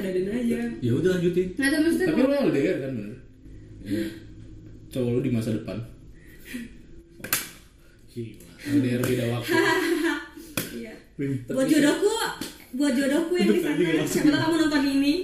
biarin aja ya udah lanjutin Nah, terus tuh tapi lu LDR kan bener Iya. cowok lu di masa depan gila LDR beda waktu Iya. Wim, Buat jodohku, buat jodohku yang di sana. Siapa tahu kamu nonton ini.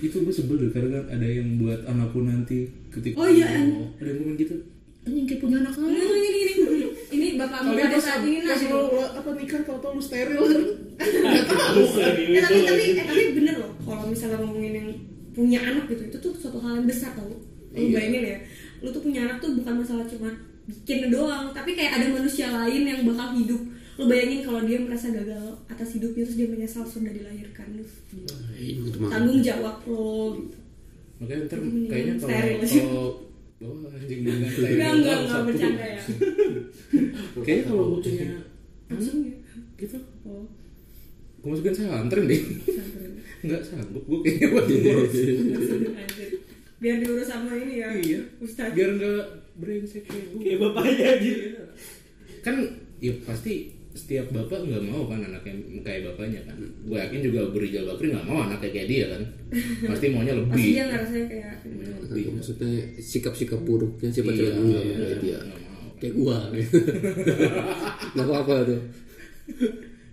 itu gue sebel deh karena kan ada yang buat anakku nanti ketika Oh, iya. ada yang ngomong gitu anjing kayak punya anak Ini ini ini. Ini bapakmu Kalian pada saat ini nah. pas gitu. lo lo- apa nikah tau tau lu steril kan nggak tahu Terus lagi Eh, tapi itu. tapi eh, tapi bener loh kalau misalnya ngomongin yang punya anak gitu itu tuh suatu hal yang besar tau lu Iya. bayangin ya lu tuh punya anak tuh bukan masalah cuma bikin doang tapi kayak ada manusia lain yang bakal hidup lu bayangin kalau dia merasa gagal atas hidupnya terus dia menyesal sudah dilahirkan Iya, Itu mah. tanggung jawab lo gitu makanya ntar Mendingan kayaknya steril. kalau kalau oh anjing dengan Iya, steril enggak enggak enggak satu. bercanda ya kayaknya kalau gue punya langsung ya gitu oh gue masukin saya antren deh sampai nggak sanggup gue kayaknya buat ngurus langsung aja biar diurus sama ini ya iya Ustaz biar nggak brengsek kayak gue kayak bapaknya aja kan ya pasti setiap bapak nggak mau kan anaknya kayak bapaknya kan gue yakin juga Rizal Bakri nggak mau anaknya kayak dia kan pasti maunya lebih pasti dia ngerasa kayak Maunya lebih. Itu maksudnya sikap-sikap buruknya sih Iya, pacaran dulu ya, iya, kayak dia. nggak mau. Kayak gua. Gak apa-apa tuh.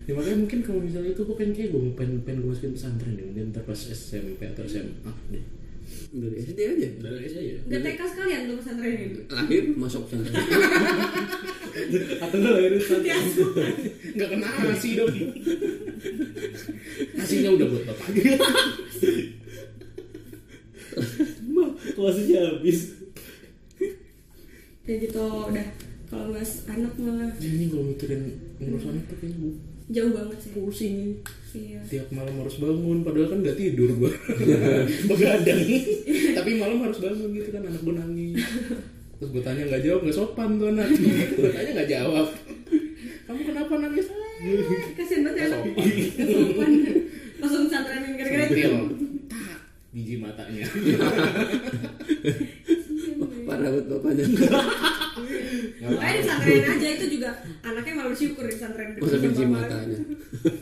ya makanya mungkin kalau misalnya itu gue pengen kayak gue pengen pengen gue masukin pesantren deh mungkin ntar pas SMP atau SMA deh Dari SD aja. dari aja ya Gak TK sekalian tuh pesantren ini Lahir masuk pesantren. atau lo lahir Nanti asuhan nggak kena nasi dong nasinya udah buat bapak mah kelasnya habis Ya gitu udah Kalau bahas anak mah Iya, ini kalau mikirin ngurus anak tuh kayaknya gue jauh banget sih pusing Iya tiap malam harus bangun padahal kan nggak tidur gua begadang tapi malam harus bangun gitu kan anak gua nangis terus gua tanya nggak jawab nggak sopan tuh anak gua tanya nggak jawab kamu kenapa nangis Iya. Eh, Kasian banget ya Sopan. Sopan Langsung pesantrenin gara-gara itu Iya, Sambil, tak biji matanya Parah buat bapaknya. Makanya di pesantren aja itu juga Anaknya malah bersyukur di pesantren Masa benci matanya.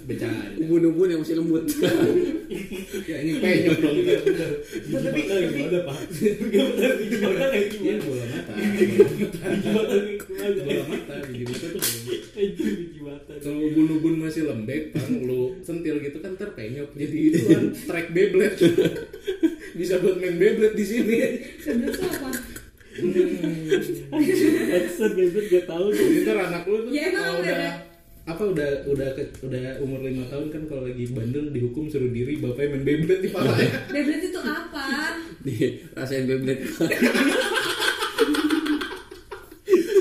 bercanda Ubun-ubun yang masih lembut. ya ini penyok dong kita tapi gimana pak gimana biji mata kayak ya gimana bola mata biji mata kayak Iya. gimana bola mata biji mata tuh kayak- Anjir, biji mata kalau bulu-bulu masih lembek kan lu sentil gitu kan terpenyok jadi itu kan track beyblade bisa buat main beyblade di sini Sebelum apa? Headset gebet gak tau tuh Jadi ntar anak lu tuh Ya, emang kalau apa udah ya? apa udah udah ke- udah umur lima tahun kan kalau lagi bandel dihukum suruh diri bapaknya main beyblade di palanya. Beblet itu apa? Nih, rasain Beyblade.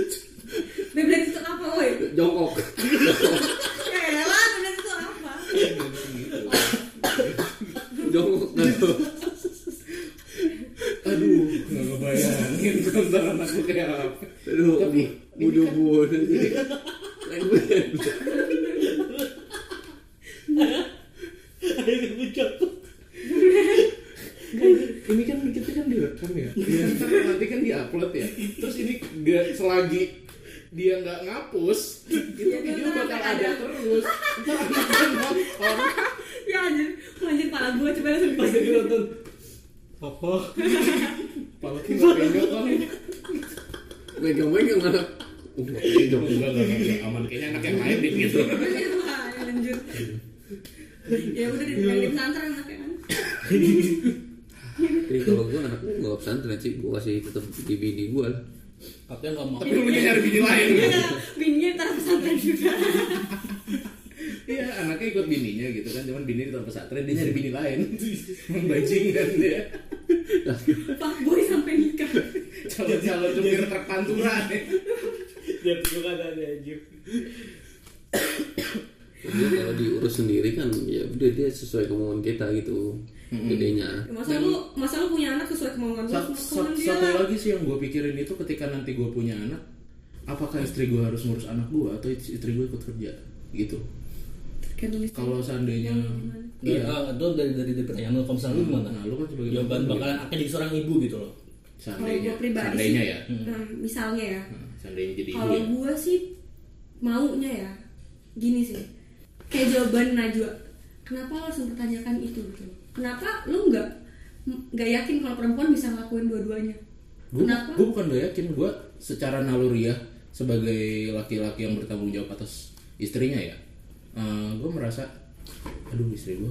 Beblet itu apa woi? Jongkok. Ya elah beblet itu apa? Jongkok kan tuh. Aduh, nggak ngebayangin tuh ntar anak lu kayak apa. Aduh, Tapi, ubun-ubun. Lain banget. Ayo kebucok ini kan kita kan direkam ya. ya ntar nanti kan diupload ya. Terus ini nggak selagi dia nggak ngapus, itu Ya, video ntar bakal akan ada ada. terus. Ntar anak lu nonton. Ya anjir Anjir pala gue coba langsung Pas lagi nonton Apa? Pala tuh nggak penyok kan. Megang-megang anak. Uh, Enggak, enggak, enggak, enggak, aman kayaknya anak yang lain deh gitu. Iya, lanjut ya udah Iya. di di pesantren anaknya kan Jadi kalau gue anak gue gak pesantren sih, gue kasih tetap di bini gue lah. Katanya gak mau Tapi lu nyari bini lain. Iya, bininya ntar pesantren juga Iya, anaknya ikut bininya gitu kan, cuman bini di pesantren dia nyari bini lain. Membajingan dia. pak boy sampai nikah Calon-calon supir truk pantura nih. Dia kan, tunjuk ada ada anjir Jadi kalau diurus sendiri kan ya udah dia sesuai kemauan kita gitu gedenya. Ya, masa lu masa lu punya anak sesuai kemauan lu Sat- sama sat- kemauan dia satu lah lagi sih yang gue pikirin itu ketika nanti gue punya anak, apakah istri gue harus ngurus anak gue atau istri gue ikut kerja gitu? Tergantung istri. Kalau seandainya Iya, itu dari dari dari pertanyaan lo, kalau misalnya lu gimana? Nah, lu kan sebagai Jawaban bapak bakalan akan jadi seorang ibu gitu loh kalau seandainya, gue pribadi sih, seandainya ya, nah, misalnya ya Nah, seandainya jadi ibu kalau ya. gue sih maunya ya gini sih kayak jawaban Najwa kenapa lo harus mempertanyakan itu gitu kenapa lu nggak nggak yakin kalau perempuan bisa ngelakuin dua-duanya gue kenapa gue bukan gak yakin gue secara naluriah sebagai laki-laki yang bertanggung jawab atas istrinya ya gue merasa aduh istri gue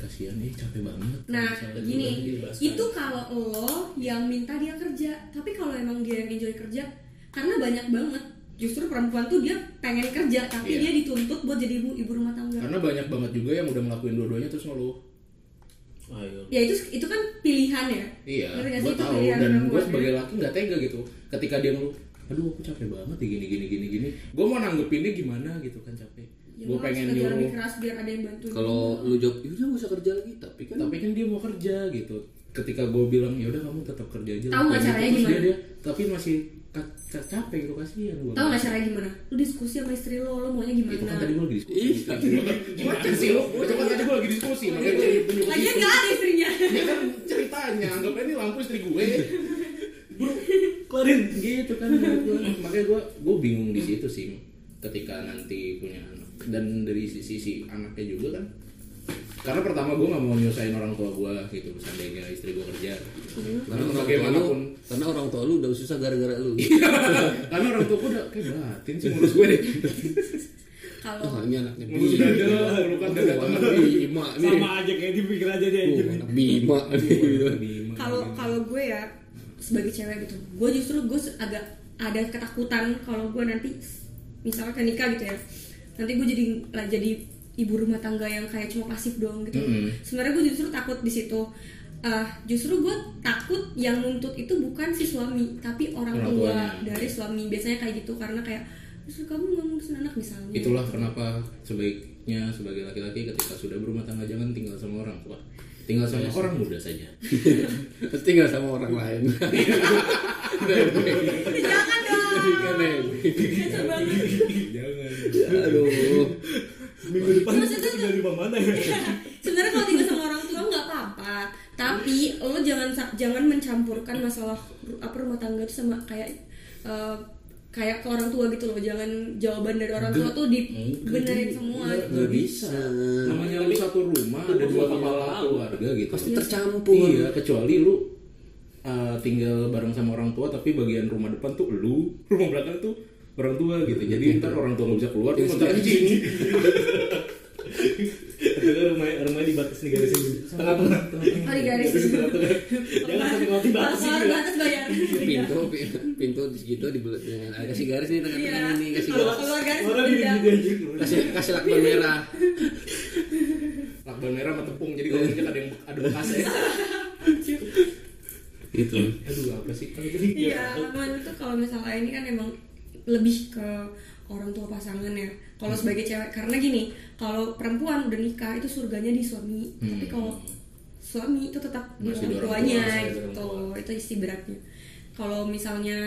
kasihan nih capek banget Nah, Misalnya gini, juga. itu kalau lo yang minta dia kerja, tapi kalau emang dia yang enjoy kerja, karena banyak banget justru perempuan tuh dia pengen kerja tapi Iya. dia dituntut buat jadi ibu ibu rumah tangga. karena banyak banget juga yang udah ngelakuin dua-duanya terus ngeluh Ayo. Ya itu itu kan pilihan ya. Iya, Ngerti nggak sih? gue Itu tahu pilihan dan gue perempuan, sebagai ya. laki nggak tega gitu. Ketika dia ngeluh, aduh aku capek banget ya gini gini gini gini. Gue mau nanggepinnya gimana gitu kan capek. Ya, gue lo harus pengen kerja nyuruh, lebih keras biar ada yang bantu. Kalau lu jawab, yaudah gak usah kerja lagi, tapi kan tapi kan dia mau kerja gitu. Ketika gue bilang ya udah kamu tetap kerja aja. Tahu nggak Gitu. caranya Terus dia- gimana? dia, tapi masih ka- ka- capek gitu kasihan gue. Tahu nggak Nah. caranya gimana? Lu diskusi sama istri lo, lo maunya Itu kan gimana? tadi gue lagi diskusi. Gimana sih lo? Gue coba tadi gue lagi diskusi. Makanya gue tunjuk Lagian nggak ada istrinya. Ya kan ceritanya, anggapnya ini lampu istri gue. Bro, Keluarin. gitu kan menurut gua. makanya gue gue bingung di situ sih ketika nanti punya anak dan dari sisi si anaknya juga kan karena pertama gue nggak mau nyusahin orang tua gue gitu seandainya istri gue kerja karena karena orang tua lu, Iya. bagaimanapun karena orang tua lu udah susah gara-gara lu. karena orang tua gue udah kayak batin sih ngurus gue deh Kalau Oh, ini anaknya ngurus Bima. dada pelukan dada Wah, teman anak Bima nih. Sama aja kayak dipikir aja deh Tuh, anjir. anak Bima nih. Bima. kalau kalau gue ya sebagai cewek gitu gue justru gue se- agak ada ketakutan kalau gue nanti misalkan nikah gitu ya nanti gue jadi lah, jadi ibu rumah tangga yang kayak cuma pasif doang gitu Mm-mm. sebenarnya gue justru takut di situ Ah, justru gue takut yang nuntut itu bukan si suami tapi orang Orang tua tuanya. dari suami biasanya kayak gitu karena kayak justru kamu nggak ngurusin anak misalnya itulah kenapa sebaiknya sebagai laki-laki ketika sudah berumah tangga jangan tinggal sama orang tua tinggal sama orang muda saja Terus tinggal sama orang lain. Nebeng. jangan dong Kan nebeng. kacau banget jangan Aduh. Minggu depan Maksudnya tuh- tinggal di rumah mana ya? sebenarnya kalau tinggal sama orang tua nggak apa-apa tapi lo jangan sa- jangan mencampurkan masalah ru- apa rumah tangga itu sama kayak eh, kayak ke orang tua gitu loh jangan jawaban dari orang tua tuh dibenerin semua Gak bisa. namanya lu satu rumah ada dua kepala keluarga gitu Pasti tercampur. iya kecuali lu uh, tinggal bareng sama orang tua tapi bagian rumah depan tuh lu rumah belakang tuh orang tua gitu jadi ntar orang tua nggak bisa keluar Iya. terus ntar anjing Itu rumah rumahnya dibatasi negara sini. Tengah-tengah. oh di garis Jangan sampai mati batasi. Kalau batas bayar Pintu pintu di situ dibelut. Nah, Kasih garis nih tengah-tengah nih, kasih kalau garis. keluar Iya. garis Orang di beda. dia anjir. Kasih kasih lakban merah. lakban merah sama tepung jadi kalau injek ada yang ada bekasnya Itu. aduh apa sih Iya, cuman itu kalau misalnya ini kan emang lebih ke orang tua pasangan ya. Kalau Hmm. sebagai cewek karena gini, kalau perempuan udah nikah itu surganya di suami, tapi kalau suami itu tetap di Hmm. Masih orang di orang tuanya tua, masih di orang gitu. Itu isi beratnya. Kalau misalnya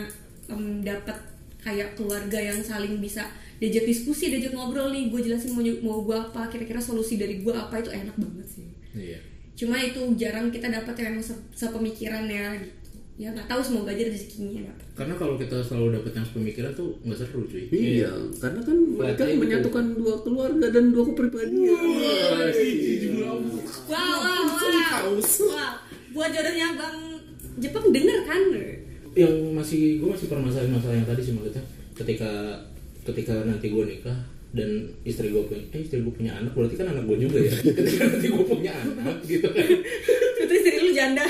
em, dapat kayak keluarga yang saling bisa diajak diskusi, diajak ngobrol nih, gue jelasin mau mau gue apa, kira-kira solusi dari gue apa itu enak banget sih iya cuma itu jarang kita dapat yang se- sepemikiran ya gitu ya nggak tahu semoga aja rezekinya ya, dapat karena kalau kita selalu dapet yang sepemikiran tuh nggak seru cuy Iya, karena kan mereka menyatukan dua keluarga dan dua kepribadian. wow wow wow, wow. buat jodohnya bang Jepang denger kan yang masih gue masih permasalahan masalah yang tadi sih maksudnya ketika ketika nanti gue nikah dan istri gue punya eh istri gue punya anak berarti kan anak gue juga ya ketika nanti gue punya anak gitu kan putri istri lu janda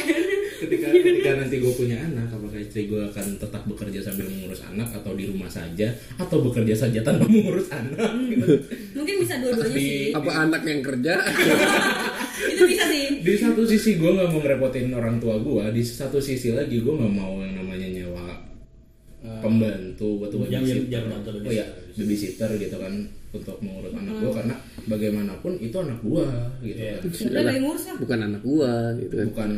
ketika ketika nanti gue punya anak apakah istri gue akan tetap bekerja sambil mengurus anak atau di rumah saja atau bekerja saja tanpa mengurus anak gitu. mungkin bisa dua-duanya Pasti. sih Apa anak yang kerja? itu bisa sih di satu sisi gue nggak mau ngerepotin orang tua gue di satu sisi lagi gue nggak mau yang namanya nyewa pembantu buat Eh, Jam- jam- babysitter jam kantor oh ya babysitter gitu kan untuk mengurus anak gue karena bagaimanapun itu anak gue gitu Hmm. Iya. kan udah gak yang ngurus lah Bukan anak gua gitu kan. bukan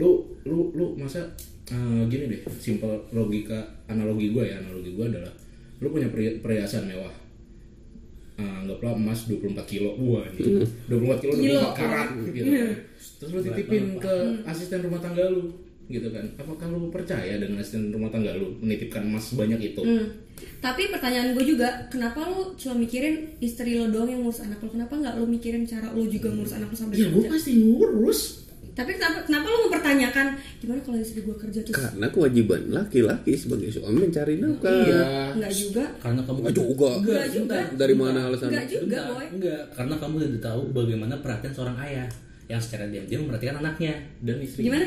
lu lu lu masa eh, gini deh simple logika analogi gue ya analogi gue adalah lu punya peri- perhiasan mewah Eh, anggaplah emas 24 kilo wah anjing. 24 kilo Kilo. Iya. 24 karat gitu terus lu titipin ke asisten rumah tangga lu gitu kan apakah lu percaya dengan asisten rumah tangga lu menitipkan emas banyak itu Hmm. Tapi pertanyaan gue juga, kenapa lu cuma mikirin istri lo doang yang ngurus anak lo? Kenapa nggak lo mikirin cara lo juga ngurus anak lo sambil ya gue kerja? pasti ngurus Tapi kenapa, kenapa lo mempertanyakan gimana kalau istri gue kerja terus Karena kewajiban laki-laki sebagai suami mencari nafkah. iya nggak juga? karena kamu Enggak juga. Nggak juga. Dari mana Nggak alasannya? juga, Enggak, boy. enggak, karena kamu tidak tahu bagaimana perhatian seorang ayah yang secara diam-diam memperhatikan anaknya. dan istri Gimana?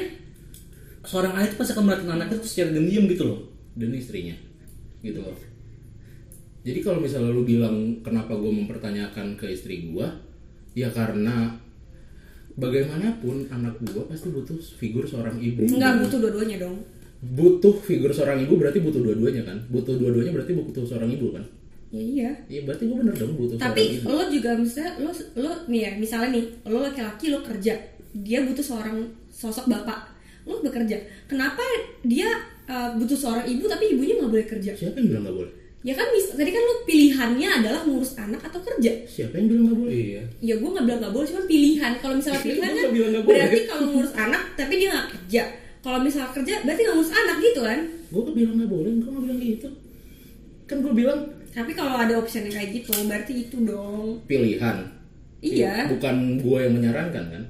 Seorang ayah itu pasti akan memperhatikan anaknya tuh secara diam-diam gitu loh. dan istrinya gitu loh jadi kalau misalnya lu bilang kenapa gue mempertanyakan ke istri gue ya karena bagaimanapun anak gue pasti butuh figur seorang ibu Nggak butuh dua-duanya dong. butuh figur seorang ibu berarti butuh dua-duanya kan butuh dua-duanya berarti butuh seorang ibu kan Ya iya. Iya berarti gue bener dong butuh Tapi seorang ibu. lo juga misalnya lo lo nih ya misalnya nih lo laki-laki lo kerja dia butuh seorang sosok bapak lo bekerja kenapa dia uh, butuh seorang ibu tapi ibunya nggak boleh kerja Siapa yang bilang nggak boleh? ya kan mis- tadi kan lo pilihannya adalah ngurus anak atau kerja Siapa yang bilang nggak boleh? Iya. ya gue nggak bilang nggak boleh cuma pilihan kalau misalnya Iya, pilihan gua kan nggak bilang nggak boleh. berarti kalau ngurus anak tapi dia nggak kerja kalau misalnya kerja berarti nggak ngurus anak gitu kan Gue kan bilang nggak boleh, gue nggak bilang gitu. Kan gue bilang tapi kalau ada option yang kayak gitu berarti itu dong pilihan. iya Bukan gue yang menyarankan kan?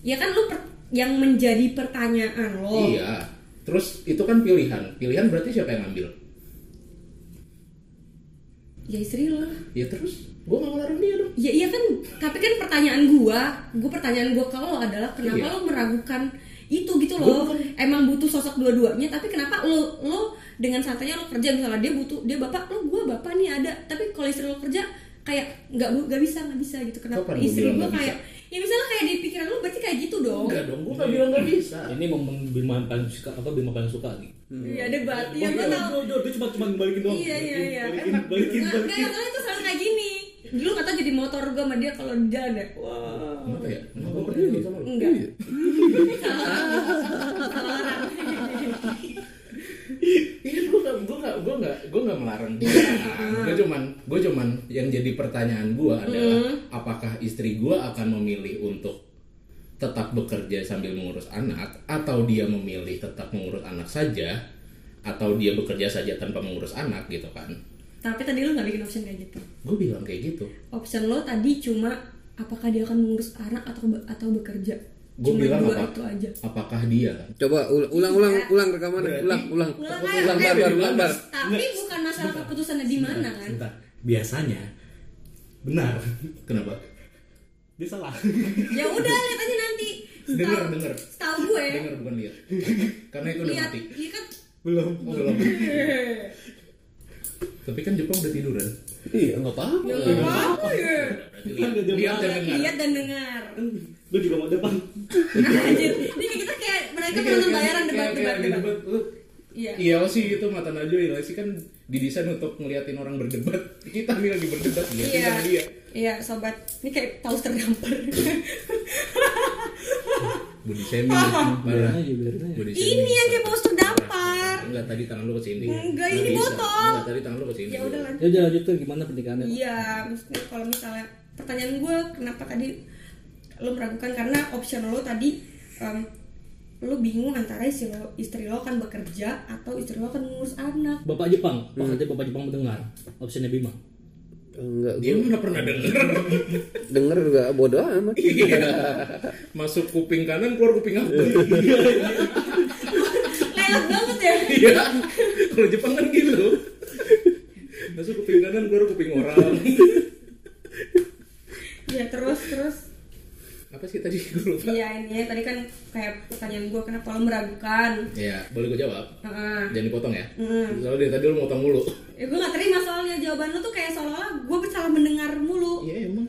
ya kan lo per- yang menjadi pertanyaan lo Iya. Terus itu kan pilihan. Pilihan berarti siapa yang ngambil? ya istri lo Ya terus gue nggak ngelarang dia dong. ya iya kan tapi kan pertanyaan gua gua pertanyaan gua kalau adalah kenapa Iya. lo meragukan itu gitu Gua loh emang butuh sosok dua-duanya tapi kenapa lo lo dengan santainya lo kerja misalnya dia butuh dia bapak lo gua bapak nih ada tapi kalau istri lo kerja kayak nggak bu- nggak bisa nggak bisa gitu kenapa Kapan gua istri bilang gua nggak kayak ya misalnya kayak di pikiran lo berarti kayak gitu dong Enggak Iya dong, gue nggak bilang nggak bisa. Ini momen Bima paling suka apa Bima paling suka lagi. iya debat Hmm. ya gua tahu Dia cuma cuma balikin doang. iya iya iya Balikin, enak balikin, Nggak, balikin. nggak soalnya itu selalu kayak gini dulu kata jadi motor gua sama dia kalau di jalan ya wah Kenapa ya? Kenapa gue Iya, percaya sama lu? Enggak. Iya. Salah orang. Salah orang. Iya, gue gak, gue gak, gue gak, gue gak melarang dia. Iya. gue cuman, gue cuman yang jadi pertanyaan gue adalah apakah istri gue akan memilih untuk tetap bekerja sambil mengurus anak atau dia memilih tetap mengurus anak saja atau dia bekerja saja tanpa mengurus anak gitu kan? Tapi tadi lo gak bikin option kayak gitu. Gue bilang kayak gitu. Option lo tadi cuma apakah dia akan mengurus anak atau be- atau bekerja. Gue cuma bilang dua apa? itu aja. Apakah dia kan? Coba ul- ulang ulang ulang rekamannya, ulang ulang. Ulang, Iya. Ulang ulang. barbar barbar. Tapi bukan masalah keputusannya di mana kan? Bentar. Biasanya benar. Kenapa? Dia salah. Ya udah lihat aja nanti. Dengar, Setahu- dengar. Setahu gue. Dengar bukan lihat. Karena itu udah Lihat, mati. iya kan? Belum. Oh, belum. Tapi kan Jepang udah tiduran. Iya, enggak apa-apa. Apa ya? Lihat, lihat dan dengar. Lihat dan dengar. Gue juga mau depan. Anjir, ini kita kayak mereka penonton bayaran Kayak- debat-debat. kayak debat. debat, lu- Iya. Iya sih itu mata najwa sih kan didesain untuk ngeliatin orang berdebat. Kita nih lagi berdebat ngeliatin Iya. sama dia. Iya, sobat. Ini kayak paus terdampar. Body shaming parah. biarin Body ini yang kayak paus terdampar. Enggak tadi tangan lu ke sini. Enggak, Nggak ini bisa. botol. Enggak tadi tangan lu ke sini. Ya udah lah. Ya udah lanjut tuh gimana pernikahannya? Iya, maksudnya kalau misalnya pertanyaan gue kenapa tadi lo meragukan karena option lo tadi em, lo bingung antara istri lo, istri lo akan bekerja atau istri lo akan mengurus anak. Bapak Jepang, pekerja Bapak Jepang mendengar opsinya Bima. Enggak, Dia mana pernah denger denger enggak bodoh amat. Iya. Masuk kuping kanan keluar kuping aku Lewat banget ya. Iya Kalau Jepang kan gitu Masuk kuping kanan keluar kuping orang Ya terus terus. Apa sih tadi gue lupa Iya ini ya, tadi kan kayak pertanyaan gue kenapa lo meragukan. Iya boleh gue jawab Heeh. Jangan dipotong ya Mm. Soalnya dari tadi lu motong mulu Ya gue gak terima soalnya jawaban lu tuh kayak seolah-olah gue salah mendengar mulu Iya emang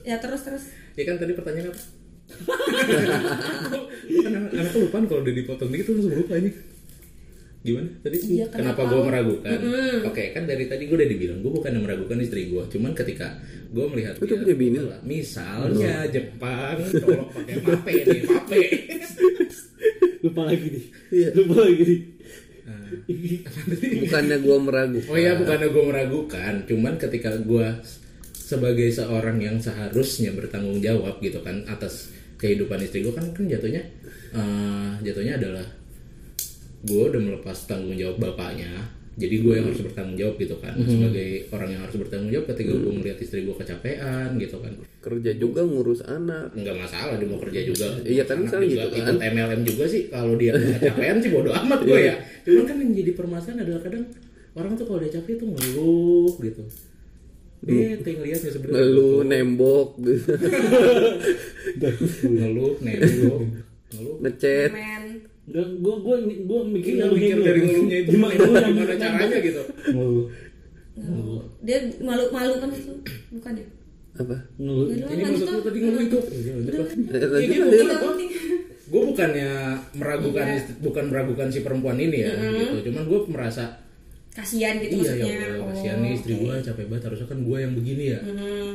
Ya terus terus Ya kan tadi pertanyaan apa? Lu kan anak- anak lupaan kalau udah dipotong dikit tuh langsung lupa ini. Gimana? Tadi Iya, kenapa, kenapa? gue meragukan? Oke, kan dari tadi gue udah dibilang gue bukan yang meragukan istri gue, cuman ketika gue melihat Lu tuh punya bini? misalnya Jepang colok pakai mape nih, mape. Lupa lagi nih. Iya. Lupa lagi nih. Bukannya gua meragukan. Oh iya, bukannya gue meragukan, cuman ketika gue sebagai seorang yang seharusnya bertanggung jawab gitu kan atas kehidupan istri gue kan kan jatuhnya eh, jatuhnya adalah gue udah melepas tanggung jawab bapaknya jadi gue yang harus bertanggung jawab gitu kan sebagai orang yang harus bertanggung jawab ketika gue melihat istri gue kecapean gitu kan kerja juga ngurus anak nggak masalah dia mau kerja juga Iya, kan, Anak sekarang juga, gitu kan. Iya. ikut MLM juga sih kalau dia nggak kecapean sih bodo amat gue ya cuman kan yang jadi permasalahan adalah kadang orang tuh kalau udah capek tuh ngeluh gitu bete ngeliatnya sebenarnya ngeluh nembok ngeluh nego ngeluh ngechat men Enggak, gue gue gue mikir Iya, mikir dari ngeluhnya itu gimana gimana, gua- caranya gitu ngeluh dia malu malu kan itu bukan ya apa ngeluh Udah, ini lanjut Iya. maksud lah. lu tadi ngomong itu Eh, ya lanjut gitu lanjut. Nggak penting. gue bukannya meragukan Iya. istri- bukan meragukan si perempuan ini ya gitu cuman gue merasa kasihan gitu iya ya maksudnya Allah, Oh, kasihan nih istri gue capek banget harusnya kan gue yang begini ya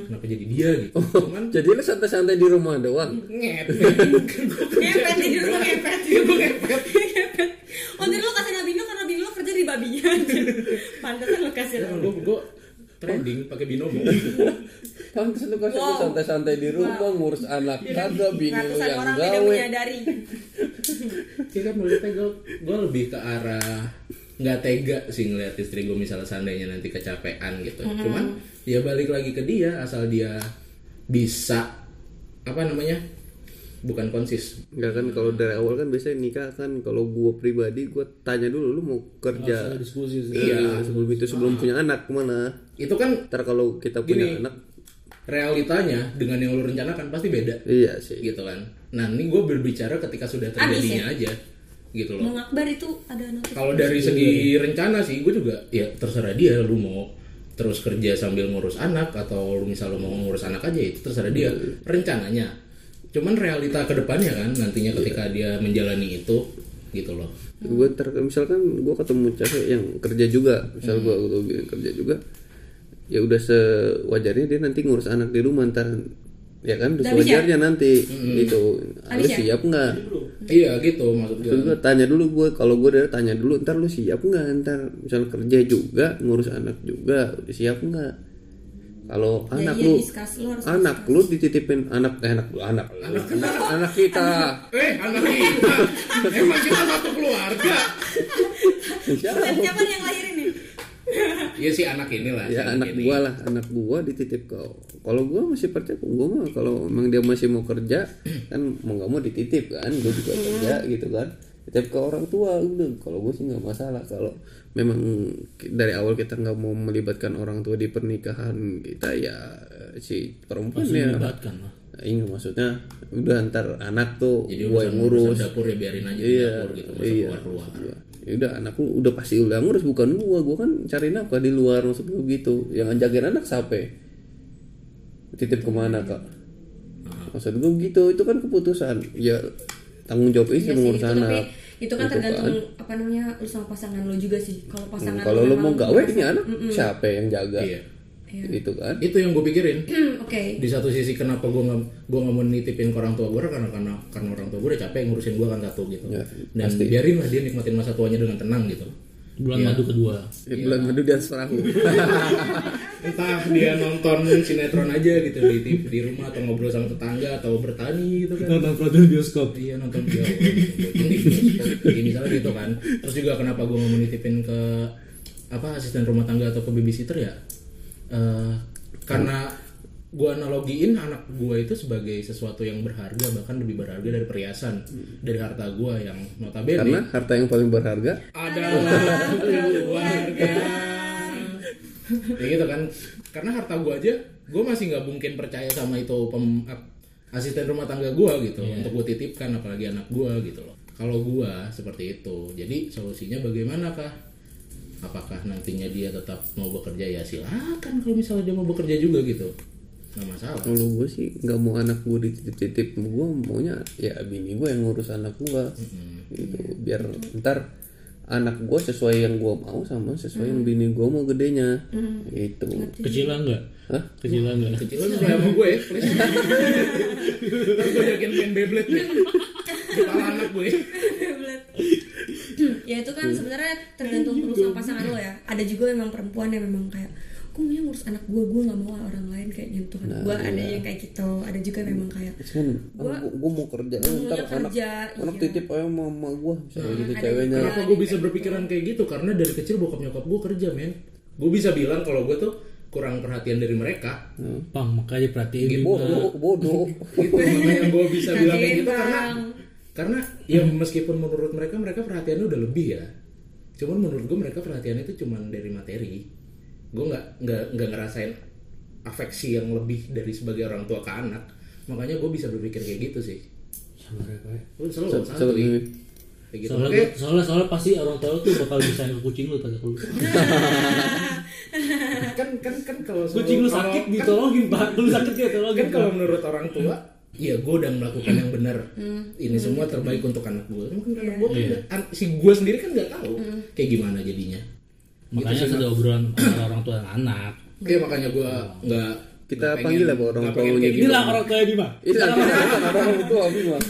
kenapa jadi dia gitu Oh. cuman Iya. jadi lu santai-santai di rumah doang ngepet ngepet jadi lu ngepet Iya, gua ngepet. Ngepet. oh jadi lu kasih Nabino karena Nabino lu kerja di babinya pantesan lu kasih gue gue trending pakai binomo pantes lu kan Wow. Iya. santai-santai di rumah ngurus anak Kan kagak bingung ratusan yang orang tidak gawe menyadari sih kan menurutnya gue gue lebih ke arah nggak tega sih ngeliat istri gue misalnya seandainya nanti kecapean gitu cuman ya balik lagi ke dia asal dia bisa apa namanya bukan konsis Enggak kan kalau dari awal kan biasanya nikah kan kalau gua pribadi gua tanya dulu lu mau kerja diskusi sih. iya sebelum itu sebelum punya anak kemana itu kan ntar kalau kita punya Gini. anak realitanya dengan yang lu rencanakan pasti beda iya sih gitu kan nah ini gue berbicara ketika sudah terjadinya aja gitu loh Bang Akbar itu ada notif kalau dari Iya. segi rencana sih gue juga ya terserah dia lu mau terus kerja sambil ngurus anak atau lu misal lu mau ngurus anak aja itu terserah dia Iya. rencananya cuman realita kedepannya kan nantinya Iya. ketika dia menjalani itu gitu loh gua ntar misalkan gua ketemu cewek yang kerja juga misal gua Hmm. gua bilang kerja juga ya udah sewajarnya dia nanti ngurus anak di rumah ntar ya kan udah Udah bisa? Hmm. sewajarnya nanti gitu lu Habis ya? siap nggak iya gitu maksud gue Terus gue tanya dulu gue kalau gue dari tanya dulu ntar lu siap nggak ntar misal kerja juga ngurus anak juga udah siap nggak kalau anak iya, lu discuss, lu harus anak lu dititipin anak eh, anak lu anak lu. anak kita eh anak kita emang kita satu keluarga Siapa? siapa yang lahirin nih ya sih anak inilah si ya anak ini. gua lah anak gua dititip ke kalau gua masih percaya gua mah kalau emang dia masih mau kerja kan mau nggak mau dititip kan gua juga kerja gitu kan titip ke orang tua udah kalau gua sih nggak masalah kalau memang ki- dari awal kita nggak mau melibatkan orang tua di pernikahan kita ya si perempuan ya Melibatkan lah. ini maksudnya udah ntar anak tuh jadi gua urusan yang urusan ngurus dapur ya biarin aja di Iya, dapur gitu masa iya. keluar keluar ya udah anak lu udah pasti udah ngurus bukan gua gua kan cari nafkah di luar maksud gua gitu yang jagain anak siapa titip kemana kak Nah. maksud gua gitu itu kan keputusan ya tanggung jawab Iya istri sih, Hmm, mengurus itu, tapi anak Gitu itu kan tergantung apa namanya lu sama pasangan lu juga sih kalau pasangan Hmm, kalau lu mau memang- gawe ini anak siapa yang jaga iya gitu kan itu yang gue pikirin Hmm, oke di satu sisi kenapa gue nggak gue nggak mau nitipin ke orang tua gue karena karena karena orang tua gue udah capek ngurusin gue kan satu gitu Ya, dan biarin lah dia nikmatin masa tuanya dengan tenang gitu bulan madu kedua Iya. di bulan madu dan serahu entah dia nonton sinetron aja gitu di TV di rumah atau ngobrol sama tetangga atau bertani gitu kan nonton produk bioskop iya nonton dia ini misalnya gitu kan terus juga kenapa gue nggak mau nitipin ke apa asisten rumah tangga atau ke babysitter ya Eh, karena gue analogiin anak gue itu sebagai sesuatu yang berharga bahkan lebih berharga dari perhiasan dari harta gue yang karena notabene harta yang paling berharga adalah keluarga ya gitu kan karena harta gue aja gue masih nggak mungkin percaya sama itu pem, ap- asisten rumah tangga gue gitu untuk gue titipkan apalagi anak gue gitu loh kalau gue seperti itu jadi solusinya bagaimana kah apakah nantinya dia tetap mau bekerja ya silakan kalau misalnya dia mau bekerja juga gitu nggak masalah kalau gue sih nggak mau anak gue dititip-titip gue maunya ya bini gue yang ngurus anak gue gitu biar ntar anak gue sesuai yang gue mau sama sesuai yang bini gue mau gedenya gitu kecilan nggak Hah? kecilan nggak kecil lu mulai sama gue please Ntar gue yakin main Beyblade nih kepala anak gue Belet. Iya ya itu kan sebenarnya tergantung perusahaan pasangan lo ya ada juga memang perempuan yang memang kayak aku maunya ngurus anak gue gue nggak mau orang lain kayak nyentuh Nah, anak gue iya. ada yang kayak gitu ada juga memang kayak Terus kan Gua- gue mau kerja gua ntar maunya anak kerja, anak iya. titip aja sama mama gue misalnya gitu "Ah, ada ceweknya juga. Kenapa gue bisa berpikiran kayak gitu? Karena dari kecil bokap nyokap gue kerja, men. Gue bisa bilang kalau gue tuh kurang perhatian dari mereka. Bang, makanya perhatiin Gitu. Bima. bodoh bodoh Itu makanya gue bisa bilang kayak gitu Perhatiin, karena Bang. karena ya meskipun menurut mereka mereka perhatiannya udah lebih ya. Cuman menurut gue mereka perhatiannya itu cuman dari materi. Gue nggak nggak nggak ngerasain afeksi yang lebih dari sebagai orang tua ke anak. Makanya gue bisa berpikir kayak gitu sih. Sabar ya, Pak. Gue selalu Coba- coba santuy. gini. Kayak gitu. Soalnya, Oke, soalnya, soalnya pasti orang tua lu tuh bakal bisain ke kucing lu tanya ke lu. kan kan kan kalau Kucing lu kalau- sakit kan- ditolongin, Pak. Lu sakit dia tolongin. kan kalau menurut orang tua ya gue udah melakukan yang benar ini semua terbaik untuk anak gue mungkin anak gue Iya. kan nggak- an- si gue sendiri kan nggak tahu kayak gimana jadinya Makanya sih, ada obrolan antara orang tua dan anak. ya makanya gue nggak nggak Kita pengen- panggil ya, Bu, orang nggak pengen tuanya. kayak gitu Inilah orang tua Bima. itu orang itu abi mah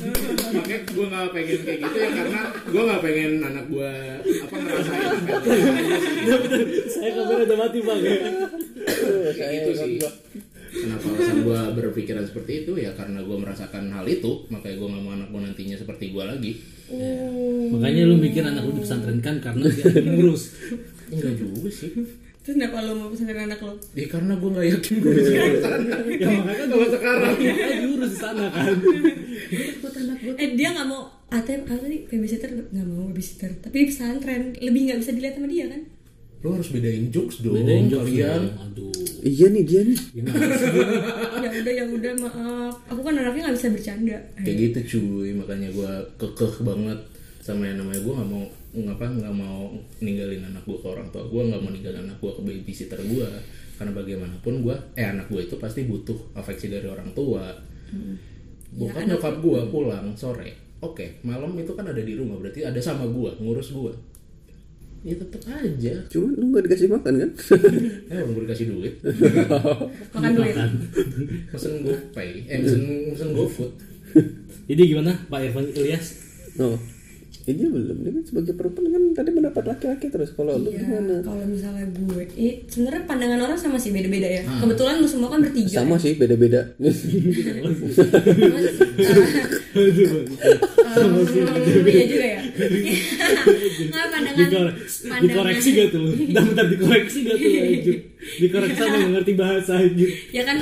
makanya gue nggak pengen kayak gitu ya karena gue nggak pengen anak gue apa ngerasain kayak Saya kamera udah mati, Bang. gitu sih kenapa alasan gue berpikiran seperti itu ya karena gue merasakan hal itu makanya gue nggak mau anak gue nantinya seperti gue lagi gitu." Iya. Makanya lu mikir anak lu dipesantrenkan karena dia anak ngurus. enggak juga sih terus kenapa lo mau pesantren anak lo Ya karena gue gak yakin gue bisa ke sana Kalau sekarang Makanya diurus di sana kan. eh dia nggak mau ATM apa tadi babysitter nggak mau babysitter tapi pesantren lebih nggak bisa dilihat sama dia kan Lo harus bedain jokes dong Bedain jauh kalian Aduh. iya nih dia nih ya udah ya udah maaf aku kan anaknya nggak bisa bercanda Kayak gitu cuy Makanya gue kekeh banget Sama yang namanya gue gak mau ngapa nggak mau ninggalin anak gue ke orang tua gue nggak mau ninggalin anak gue ke babysitter gue karena bagaimanapun gue eh anak gue itu pasti butuh afeksi dari orang tua bokap nyokap gue pulang sore oke malam itu kan ada di rumah berarti ada sama gue ngurus gue ya tetep aja cuman lu nggak dikasih makan kan eh orang gue dikasih duit makan ya. duit Iya. mesen GoPay, eh mesen, mesen GoFood Jadi gimana Pak Irfan Ilyas? no ini belum dia kan sebagai perempuan kan tadi mendapat laki-laki terus kalau lu Ya, gimana kalau misalnya gue, eh, sebenarnya pandangan orang sama sih beda-beda ya. Kebetulan lu semua kan bertiga. sama sih beda-beda Sama sih. Iya juga ya. Nggak pandangan. Dikore- pandangan- dikoreksi gak tuh lu? Dah bentar dikoreksi gak tuh lu, anjir? Dikoreksi sama yang ngerti bahasa anjir Ya kan,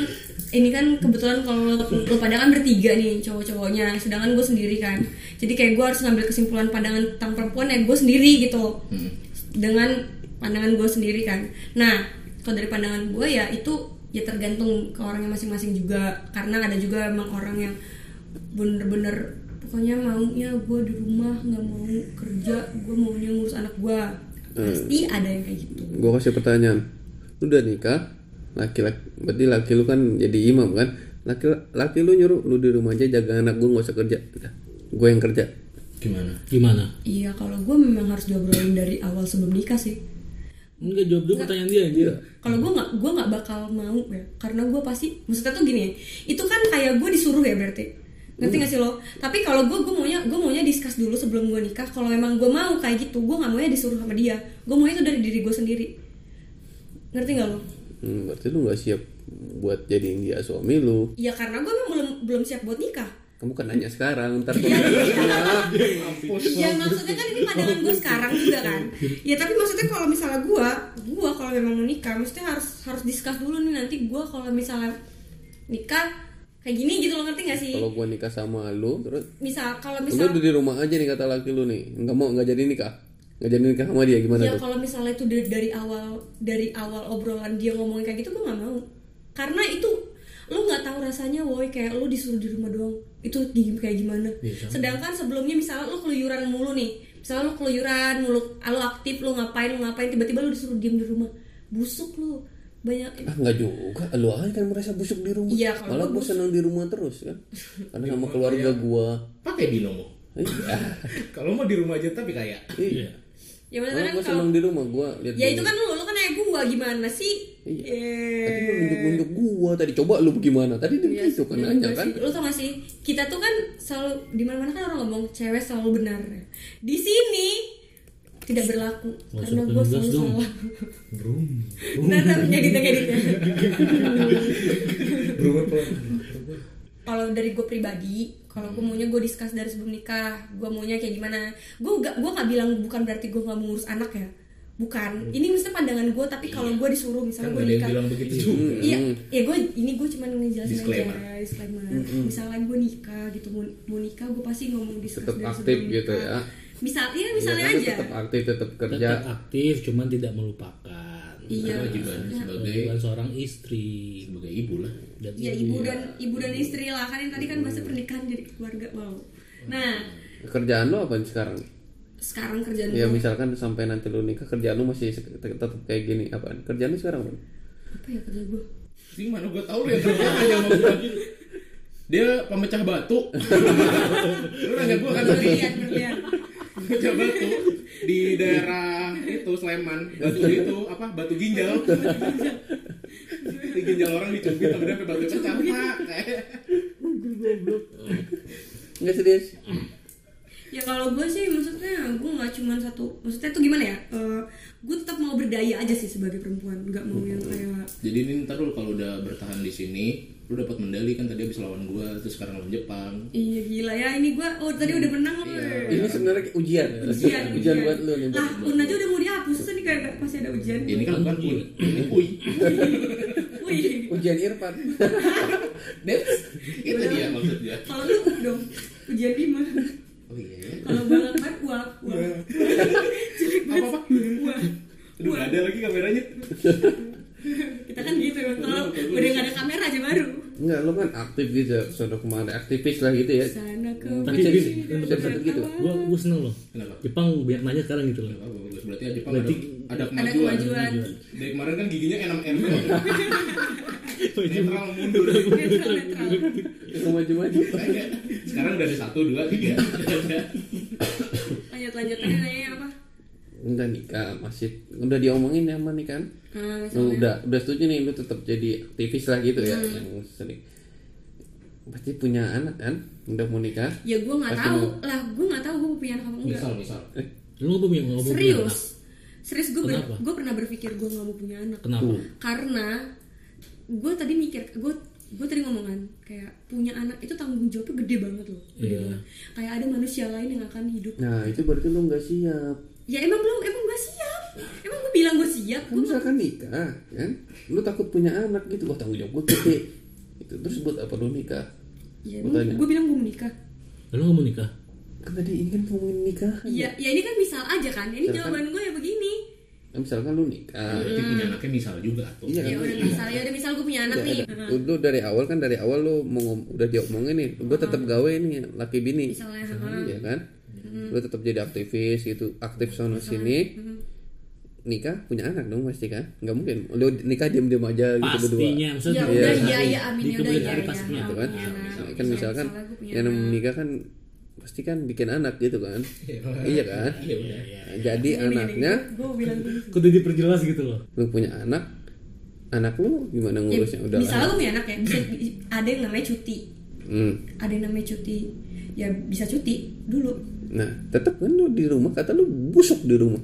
ini kan kebetulan kalau lu, lu pada kan bertiga nih cowok-cowoknya, sedangkan gue sendiri kan. Jadi kayak gue harus ngambil kesimpulan pandangan tentang perempuan ya gue sendiri gitu. Dengan pandangan gue sendiri kan. Nah, kalau dari pandangan gue ya itu ya tergantung ke orangnya masing-masing juga karena ada juga emang orang yang bener-bener pokoknya maunya gue di rumah nggak mau kerja gue maunya ngurus anak gue pasti ada yang kayak gitu gue kasih pertanyaan lu udah nikah laki-laki berarti laki lu kan jadi imam kan laki laki lu nyuruh lu di rumah aja jaga anak gue nggak usah kerja gue yang kerja Gimana? Gimana? Iya kalau gue memang harus diobrolin dari awal sebelum nikah sih. Enggak jawab dulu pertanyaan dia anjir Kalau gue nggak gue nggak bakal mau ya karena gue pasti maksudnya tuh gini itu kan kayak gue disuruh ya berarti ngerti nggak sih lo? Tapi kalau gue gue maunya gue maunya discuss dulu sebelum gue nikah kalau emang gue mau kayak gitu gue nggak maunya disuruh sama dia gue maunya itu dari diri gue sendiri ngerti nggak lo? hmm, berarti lu nggak siap buat jadiin dia suami lu Iya karena gue memang belum belum siap buat nikah. kamu kan nanya sekarang ntar kalau- Ya maksudnya kan ini pandangan gue sekarang juga kan. Ya tapi maksudnya kalau misalnya gue, gue kalau memang mau nikah, maksudnya harus harus discuss dulu nih nanti gue kalau misalnya nikah kayak gini gitu lo ngerti gak sih? kalau gue nikah sama lu terus Misal kalau lu misal udah di rumah aja nih kata laki lu nih nggak mau nggak jadi nikah nggak jadi nikah sama dia gimana ya tuh kalau misalnya itu dari, dari awal dari awal obrolan dia ngomongin kayak gitu gue nggak mau karena itu lu nggak tahu rasanya woi kayak lu disuruh di rumah doang itu di- kayak gimana Iya, sedangkan sebelumnya misalnya lu keluyuran mulu nih misalnya lu keluyuran mulu lu aktif lu ngapain lu ngapain tiba-tiba lu disuruh diem di rumah busuk lu banyak ah nggak juga lu aja kan merasa busuk di rumah Iya, kalau malah gua gue senang di rumah terus kan karena sama keluarga gue Pakai binomo Kalau mau di rumah aja tapi kayak iya ya maksudnya Malah kan gue kalau senang di rumah gue lihat ya itu kan lu lu kan kayak gue gimana sih Eh. Tadi Iya. lu nunjuk-nunjuk gua tadi coba lu gimana tadi dia begitu kan Iya, nanya bener kan sih. Lu tau gak sih? Kita tuh kan selalu di mana mana kan orang ngomong cewek selalu benar. Di sini tidak berlaku Nggak karena gue usah penugas selalu dong. salah Brum. nah tapi jadi Brum apa? Kan kalau dari gue pribadi kalau gue maunya gue discuss dari sebelum nikah gue maunya kayak gimana gue gak gue nggak bilang bukan berarti gue nggak mengurus anak ya bukan ini maksudnya pandangan gue tapi kalau gue disuruh kan misalnya gue nggak ada yang nikah bilang begitu juga Iya, Hmm. ya gue ini gue cuman ngejelasin Disclaimer. aja disclaimer. Hmm. Misalnya gue nikah gitu, mau, mau nikah gue pasti ngomong diskus Tetap dari aktif sebelum gitu nikah. ya. Misal, iya misalnya Iya, kan aja. tetap aktif tetap kerja Tetap aktif cuman tidak melupakan. Iya. Kewajibannya sebagai Kewajiban seorang istri sebagai ibu lah dan Ya Iya. ibu dan ibu dan istri lah kan yang tadi kan Hmm. bahasa pernikahan jadi keluarga mau. Nah kerjaan lo apa sekarang sekarang kerjaan ya gue misalkan sampai nanti lo nikah kerjaan lo masih se- te- tetap kayak gini apaan kerjaan lo sekarang Bang? apa ya kerja gue? Ini mana gue tahu dia kerja nanya sama gue Dia pemecah batu. Lu nanya Iya. gue kan tadi Berlian berlian. pemecah batu di daerah itu Sleman. Batu itu apa? Batu ginjal. Di ginjal orang dicubit sampai sampai batu pecah. Pak. nggak serius Ya kalau gue sih maksudnya gue nggak cuman satu. Maksudnya tuh gimana ya? Eh, gue tetap mau berdaya aja sih sebagai perempuan. Nggak Hmm. mau yang kayak Jadi ini ntar lu kalau udah bertahan di sini, lu dapat medali kan tadi habis lawan gue terus sekarang lawan Jepang. Iya gila ya ini gua oh tadi udah menang loh. Iya. ini sebenarnya ujian Ujian, Ah. ujian buat lo nih Iya, Lah, un aja udah mau dihapus terus ini kayak nggak- pasti ada ujian. Ini kan bukan kui, ini kui. Wih. ujian Irfan That's itu dia maksudnya. Kalau lu dong ujian lima. Oh iya. ya. Kalau bang Akbar uap uap. Jelek banget. Apa-apa? Uap. Aduh, nggak ada lagi kameranya. Kita kan gitu ya. Kalau udah nggak ada kamera aja baru. Enggak, lo kan aktif gitu, sono kemana aktivis lah gitu ya. Sana ke. Tapi Bisa- gini, bisa- bisa- bisa- gitu. gua gua seneng loh. Kenapa? Jepang banyak nanya sekarang gitu Nggak loh. apa-apa, bagus. Berarti Jepang Berarti ada, ada Ada kemajuan. kemajuan. Dari kemarin kan giginya N6N tuh. Netral mundur. Netral netral. Maju-maju. Kayak, Sekarang udah ada satu, dua, tiga. Lanjut lanjut tadi nanya apa? Udah nikah, masih udah diomongin ya sama nih kan? Ah, Lu misalnya. udah udah setuju nih lu tetap jadi aktivis lah gitu ya yang sering. Pasti punya anak kan? Udah mau nikah? Ya gua nggak tahu lah. Gua nggak tahu gua punya anak apa enggak. misal, misal. Lu ngapa punya ngapa punya Serius. anak? Serius gue ber- Kenapa? gue pernah berpikir gue nggak mau punya anak. Kenapa? Karena gue tadi mikir gue gue tadi ngomongan kayak punya anak itu tanggung jawabnya gede banget loh. Gede Iya. banget. Kayak ada manusia lain yang akan hidup. Nah, itu berarti lu nggak siap. Ya emang belum emang gak siap. Emang gue bilang gue siap. Kan misalkan nikah, kan? Lu takut punya anak gitu, wah tanggung jawab gue gede. Itu terus buat apa lu nikah? Ya, Gua tanya. gue bilang gue menikah. Lu nggak mau nikah? Kan tadi ingin ngomongin nikah. Iya, ya ini kan misal aja kan. Ini Misalkan- jawaban gue ya begini. Nah, misalkan lu nikah, Berarti punya anaknya misal juga tuh. Iya. Ya udah misal ya udah misal gue punya anak nih. Lu- lu dari awal kan dari awal lu mau ngom- udah diomongin nih gue tetap Hmm. gawe nih laki bini Misalnya, ya kan Hmm. lu tetap jadi aktivis gitu aktif sono sini nikah punya anak dong pasti kan nggak mungkin lu nikah diem diem aja gitu berdua Pastinya maksudnya. Ya udah di- iya ya amin di ya udah kemudian ya. hari ya. pastinya. gitu kan Punya anak. Nah, kan misalkan Misalnya gua punya yang namanya menikah kan pasti kan bikin anak gitu kan iya kan Iya, udah. Nah, jadi iya. anaknya Gue bilang gini. Kudu diperjelas gitu loh. lu punya anak anak lu gimana ngurusnya udah lah misalnya gue Eh, punya anak ya bisa ada yang namanya cuti Hmm. ada yang namanya cuti ya bisa cuti dulu nah tetap kan lu di rumah kata lu busuk di rumah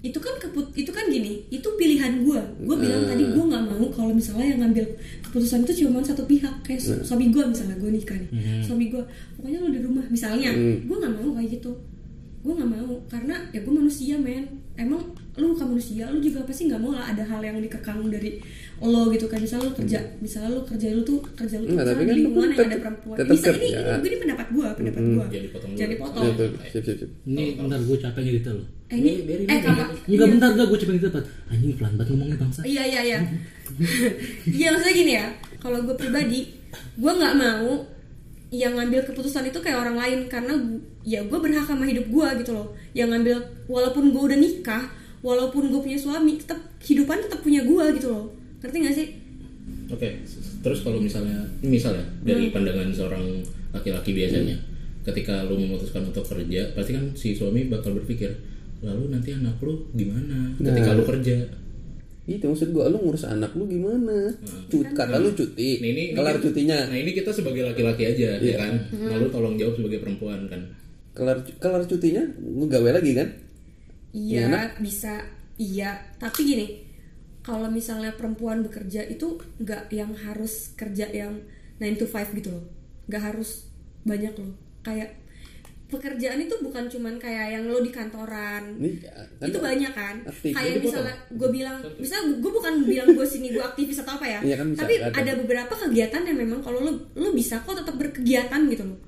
itu kan keput itu kan gini itu pilihan gue gue bilang Eh. tadi gue nggak mau kalau misalnya yang ngambil keputusan itu cuma satu pihak kayak Eh. su- suami gue misalnya gue nikah nih Mm-hmm. suami gue pokoknya lo di rumah misalnya Mm. gue nggak mau kayak gitu gue nggak mau karena ya gue manusia men emang lu bukan manusia lu juga pasti nggak mau lah ada hal yang dikekang dari lo gitu kan misalnya lu kerja misalnya lu kerja lu tuh kerja lu tuh Enggak, Mm. misalnya tapi kan di lu lingkungan yang kan ada tetep- perempuan tetep bisa ini, kerja. ini ini pendapat gue pendapat gue Jangan dipotong dulu. jadi Ya, potong tuh, sip, sip, sip. Ini bentar gue capek cerita loh. eh, ini eh Biarin, biarin. kalau Iya. Enggak bentar enggak gue capek gitu, cerita Pat. Anjing pelan banget ngomongnya bangsa. Ah, Iya iya iya. Iya maksudnya gini ya, kalau gue pribadi, gue nggak mau yang ngambil keputusan itu kayak orang lain karena gu- ya gue berhak sama hidup gue gitu loh. Yang ngambil walaupun gue udah nikah, walaupun gue punya suami, tetap kehidupan tetap punya gue gitu loh. Ngerti gak sih? Oke, terus kalau misalnya, misalnya dari pandangan seorang laki-laki biasanya, ketika lu memutuskan untuk kerja, pasti kan si suami bakal berpikir, lalu nanti anak lu gimana ketika Nah. lu kerja? Itu Gitu, maksud gua lu ngurus anak lu gimana? Cut kata lu cuti. Nah, Hmm. ini- kelar ini- cutinya. Nah ini kita sebagai laki-laki aja, Iya. ya kan? Lalu tolong jawab sebagai perempuan kan? Kelar kelar cutinya lu gawe lagi kan? iya Enak. bisa iya tapi gini kalau misalnya perempuan bekerja itu nggak yang harus kerja yang 9 to 5 gitu loh nggak harus banyak loh kayak pekerjaan itu bukan cuman kayak yang lo di kantoran Ini, kan- itu banyak kan aktif. kayak Jadi gua misalnya gue bilang misalnya gue bukan bilang gue sini gue aktivis atau apa ya Iya kan, bisa, tapi ada. ada. beberapa kegiatan yang memang kalau lo lo bisa kok tetap berkegiatan gitu loh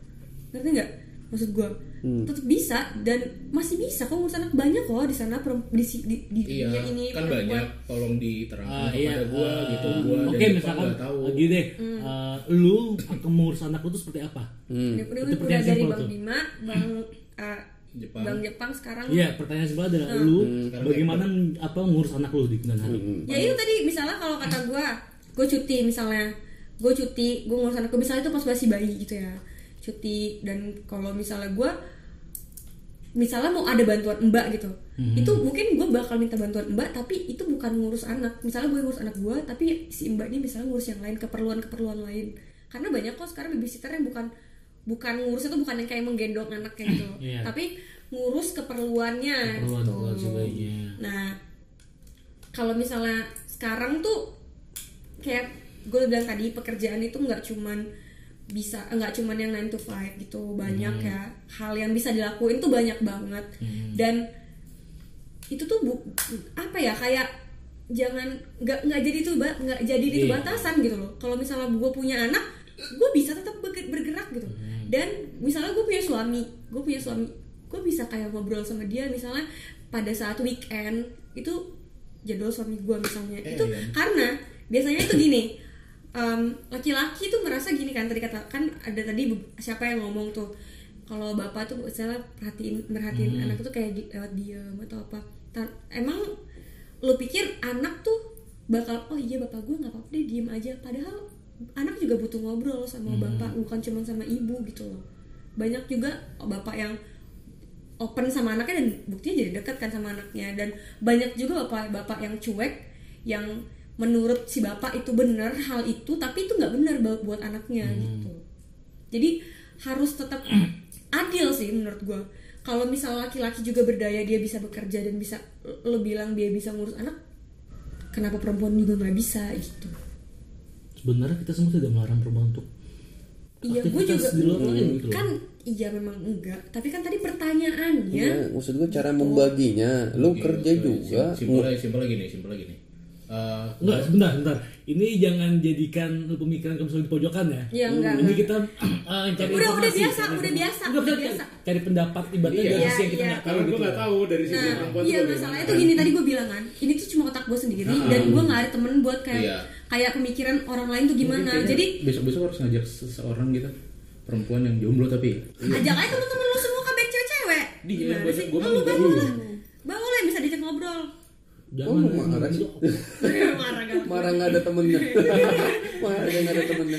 ngerti nggak maksud gue Hmm. tetap bisa dan masih bisa kok ngurus anak banyak kok di sana perem- di si- di, di Iya, dunia ini kan perempuan. banyak tolong diterangkan Ah, kepada iya. gua ah, gitu gua Oke, dari depan misalkan ah, nggak tahu. gini deh. Hmm. eh, lu akan mengurus anak lu tuh seperti apa? Hmm, Ini udah, Itu udah pertanyaan dari simpel bang tuh. Bima bang eh, Jepang. bang Jepang sekarang Iya, pertanyaan sebelah adalah Hmm. lu Hmm, bagaimana apa ngurus anak lu di kemudian hari? ya itu tadi misalnya kalau kata gue gue cuti misalnya gue cuti gue ngurus anak gue misalnya itu pas masih bayi gitu ya cuti dan kalau misalnya gue misalnya mau ada bantuan mbak gitu itu mungkin gue bakal minta bantuan mbak tapi itu bukan ngurus anak misalnya gue ngurus anak gue tapi si mbak ini misalnya ngurus yang lain keperluan keperluan lain karena banyak kok sekarang babysitter yang bukan bukan ngurus itu bukan yang kayak menggendong anak kayak gitu Iya. tapi ngurus keperluannya Keperluan gitu. keperluan sebagainya. Nah, kalau misalnya sekarang tuh kayak gue bilang tadi pekerjaan itu nggak cuman bisa nggak cuman yang 9 to 5 gitu banyak ya hal yang bisa dilakuin tuh banyak banget dan itu tuh bu, apa ya kayak jangan nggak nggak jadi itu ba- nggak jadi itu Iya. batasan gitu loh kalau misalnya gue punya anak gue bisa tetap berge- bergerak gitu dan misalnya gue punya suami gue punya suami gue bisa kayak ngobrol sama dia misalnya pada saat weekend itu jadwal suami gue misalnya itu karena biasanya itu gini em, laki-laki tuh merasa gini kan tadi kata kan ada tadi be- siapa yang ngomong tuh kalau bapak tuh misalnya perhatiin merhatiin anak tuh kayak di- lewat diam atau apa Ta- emang lu pikir anak tuh bakal oh iya bapak gue nggak apa-apa deh diem aja padahal anak juga butuh ngobrol sama bapak bukan cuma sama ibu gitu loh banyak juga bapak yang open sama anaknya dan buktinya jadi dekat kan sama anaknya dan banyak juga bapak-bapak yang cuek yang menurut si bapak itu benar hal itu tapi itu nggak benar bu- buat anaknya Hmm. gitu jadi harus tetap adil sih menurut gua kalau misal laki-laki juga berdaya dia bisa bekerja dan bisa lo bilang dia bisa ngurus anak kenapa perempuan juga nggak bisa gitu Sebenarnya kita semua tidak melarang perempuan untuk iya gue aktivitas juga di luar lain gitu loh. kan iya memang enggak tapi kan tadi pertanyaannya Iya, maksud gue cara membaginya. Lu Iya, kerja juga. simpel lagi simpel lagi nih simpel lagi nih Eh, Enggak, sebentar, sebentar. Ini jangan jadikan pemikiran kamu selalu di pojokan ya. Iya, Hmm. enggak, Ini kita eh, cari Udah, udah informasi, cari biasa, udah informasi. biasa, Enggak, udah cari- biasa. Cari pendapat ibaratnya Iya. dari sisi yang kita Iya, nggak tahu karena gue gitu. nggak tahu dari sisi Nah, iya perempuan tuh bagaimana. masalahnya tuh gini tadi gue bilang kan, ini tuh cuma otak gue sendiri dan gue nggak ada temen buat kayak Iya. kayak pemikiran orang lain tuh gimana. Kayaknya Jadi besok-besok harus ngajak seseorang gitu perempuan yang jomblo tapi ajak aja temen-temen lu semua kabar cewek-cewek. Dia, Gimana gua- sih? gua Oh, mau lu baru dulu. lah, baru lah yang bisa diajak ngobrol. Jangan. Oh, lu marah sih. Marah gak? Marah nggak ada temennya. Marah nggak ada temennya.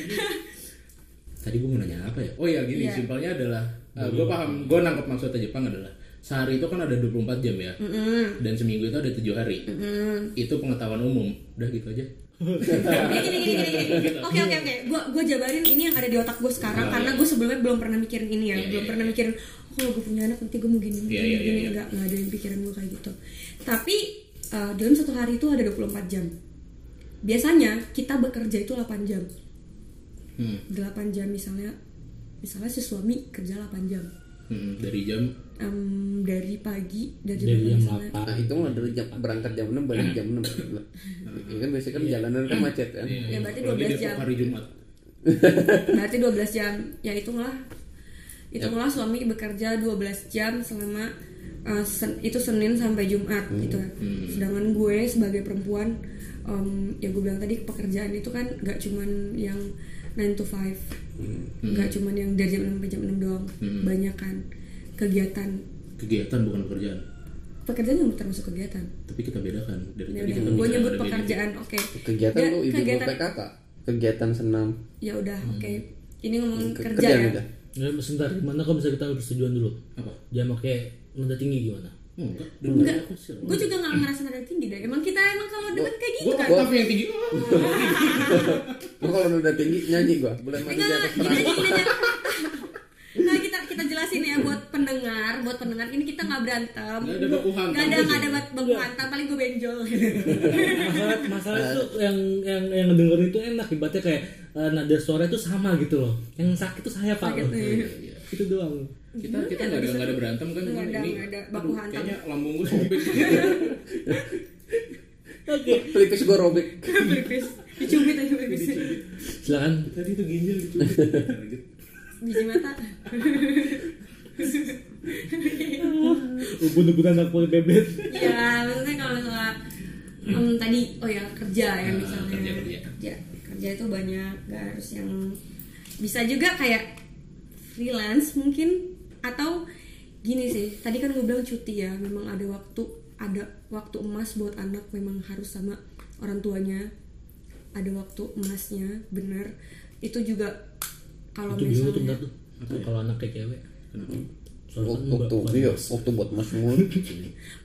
Tadi gue mau nanya apa ya? oh ya gini Iya. simpelnya adalah gue paham gue nangkap maksudnya Jepang adalah sehari itu kan ada 24 jam ya dan seminggu itu ada tujuh hari itu pengetahuan umum udah gitu aja Ya, gini gini gini gini. Oke oke oke. Gua gua jabarin ini yang ada di otak gue sekarang Iya, karena gue sebelumnya belum pernah mikirin ini ya. belum pernah mikirin oh, kalau gue punya anak nanti gue mau gini gini Iya, iya, gini. iya, iya. Nggak- nggak ada di pikiran gue kayak gitu. Tapi eh, dalam satu hari itu ada 24 jam. Biasanya kita bekerja itu 8 jam. Hmm. 8 jam misalnya misalnya si suami kerja 8 jam. Hmm, dari jam Em, dari pagi dari, Dari jam misalnya. 8. Nah, itu mah dari jam, berangkat jam 6 balik jam 6. Ya kan biasanya kan jalanan kan macet kan. Iya, Ya, berarti apalagi 12 dia jam. hari Jumat Berarti 12 jam. Ya hitunglah hitunglah Ya. suami bekerja 12 jam selama uh, sen- itu Senin sampai Jumat Hmm. gitu. ya. Sedangkan gue sebagai perempuan um, ya gue bilang tadi pekerjaan itu kan gak cuman yang 9 to 5. Hmm. Gak cuman yang dari jam 6 sampai jam 6 doang. Banyak kan kegiatan. kegiatan bukan pekerjaan Pekerjaan juga termasuk kegiatan. tapi kita bedakan dari Ya tadi kita udah, gue bicara nyebut ada beda. pekerjaan, oke. Ya, Kegiatan lu ibu gua kegiatan- PKK. Kegiatan senam. Ya udah, oke. Ini ngomong Ke- kerja kerjaan ya. udah. Ya, sebentar. Gimana kalau misalnya kita persetujuan dulu? apa Jangan pakai nada tinggi gimana? enggak dulu Enggak. Iya, aku sih Gue juga gak ngerasa nada tinggi deh. Emang kita emang kalau demen kayak gitu gue kan? tapi yang tinggi Gua kalau udah tinggi nyanyi gua. Bulan madu Enggak, enggak, di atas gini perahu. aja, gini aja. Nah, kita kita jelasin ya buat pen, pendengar, buat pendengar ini kita nggak berantem. Nggak ada Iya. baku hantam. Nggak ada nggak ada bat- baku hantam, paling gue benjol. Iya. masalah masalah itu yang yang yang dengerin itu enak ibaratnya kayak eh, nada suara itu sama gitu loh yang sakit tuh saya pak Sakit, loh. iya. itu doang kita kita Iya, nggak ada nggak ada berantem kan Nggak cuman ada, ini nggak ada. Baku aduh, hantam. kayaknya lambung gitu. gue sobek oke pelipis gue robek Pelipis, dicubit aja pelipis. silakan tadi itu ginjal dicubit Lanjut. Biji mata. ubun-ubunan anak poli bebet ya maksudnya kalau misalnya em, tadi oh ya kerja ya misalnya kerja, kerja. kerja kerja itu banyak gak harus yang bisa juga kayak freelance mungkin atau gini sih tadi kan gue bilang cuti ya memang ada waktu ada waktu emas buat anak memang harus sama orang tuanya ada waktu emasnya bener itu juga kalau itu bingung tuh misalnya bentar tuh kalau anak kayak cewek Soalnya kan waktu mbak- iya waktu buat mas mulu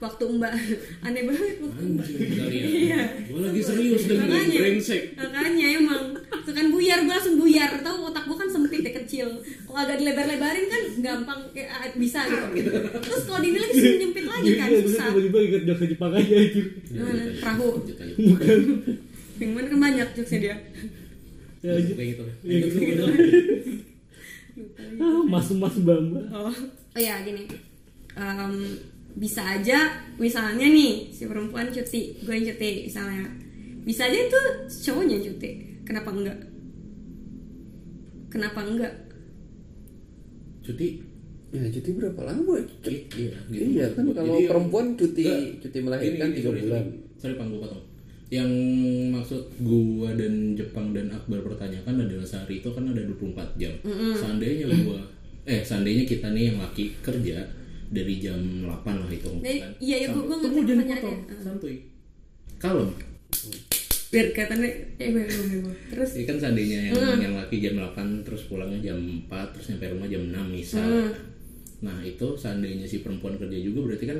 waktu mbak aneh banget waktu mbak Iya. Gue lagi serius dengan makanya brengsek. makanya emang itu kan buyar gue langsung buyar tau otak gue kan sempit ya kecil kalau agak dilebar-lebarin kan gampang kayak, ah, bisa gitu terus kalau dibilang sih nyempit lagi kan Iya, susah tiba-tiba ingat jok ke Jepang aja anjir. Mana? perahu Lanjut, lanjut. yang mana kan banyak jokesnya dia Ya, anjir. Kayak gitu. Ya, gitu, gitu. Lupa lagi. Ah, mas-mas bamba Oh, oh ya gini. Em, bisa aja misalnya nih si perempuan cuti, gue yang cuti misalnya. Bisa aja itu cowoknya yang cuti. Kenapa enggak? Kenapa enggak? Cuti. ya cuti berapa lama Iya, iya, gitu. iya kan kalau Jadi yang- perempuan cuti Nggak. cuti Gini, melahirkan gini, tiga sorry, bulan sorry. Sorry Pang, gua potong. Yang maksud gua dan Jepang dan Akbar pertanyakan adalah sehari itu kan ada 24 jam. Seandainya gua eh seandainya kita nih yang laki kerja dari jam 8 lah itu. Dari- iya, iya, gua- gua ngerti Tunggu jangan pertanyaannya. Eh. potong. Santuy. Kalem. Biar katanya eh gue gue gue, gue. Terus Ya kan seandainya yang, yang laki jam 8 terus pulangnya jam 4 terus nyampe rumah jam 6 misal. Nah, itu seandainya si perempuan kerja juga berarti kan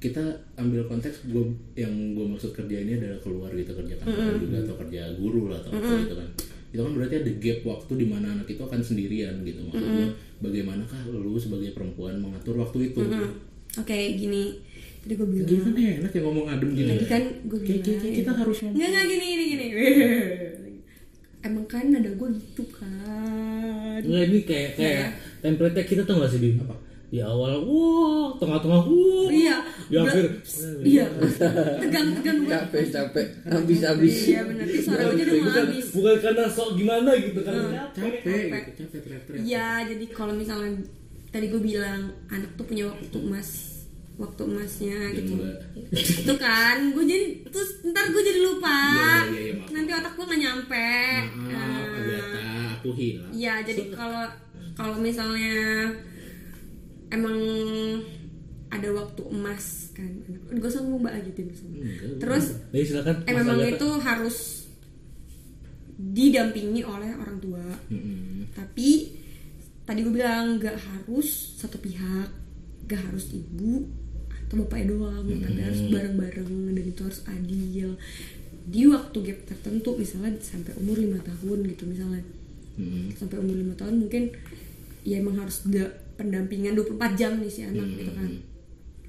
kita ambil konteks gua yang gue maksud kerja ini adalah keluar gitu kerja kantoran juga atau kerja guru lah atau apa gitu kan itu kan berarti ada gap waktu di mana anak itu akan sendirian gitu maksudnya bagaimanakah lu sebagai perempuan mengatur waktu itu oke gini. Tadi gue bilang Gini kan enak ya ngomong adem gini Tadi kan gue Kayak- kayak- kayak kita harus ngomong Nggak, nggak, gini, gini, gini Emang kan ada gue gitu kan Nggak, Nah, ini kayak Iya. kayak template kita tuh nggak sih Bim? Di awal, wow, tengah-tengah, wow. Iya Di akhir, Iya Tegang-tegang gue capek capek habis habis Iya benar, Terus suara gue jadi mau Kan habis. Hmm. bukan karena sok gimana gitu kan? Capek. capek gitu, capek teriak-teriak Iya, jadi kalau misalnya tadi gue bilang anak tuh punya waktu emas, waktu emasnya gitu. enggak. Itu kan, gue jadi terus ntar gue jadi lupa. Iya, iya, iya, maaf. Ah, iya, Nanti otak gue nggak nyampe. maaf Nah, Agatha aku hilang Iya, jadi kalau kalau misalnya emang ada waktu emas kan, gue sama mbak aja tim Terus Jadi silakan. Eh Mas memang Agatha. itu harus didampingi oleh orang tua. Tapi tadi gue bilang nggak harus satu pihak, nggak harus ibu atau bapaknya doang, tapi harus bareng-bareng dan itu harus adil di waktu gap tertentu misalnya sampai umur lima tahun gitu misalnya sampai umur lima tahun mungkin ya emang harus ada pendampingan 24 jam nih si anak gitu kan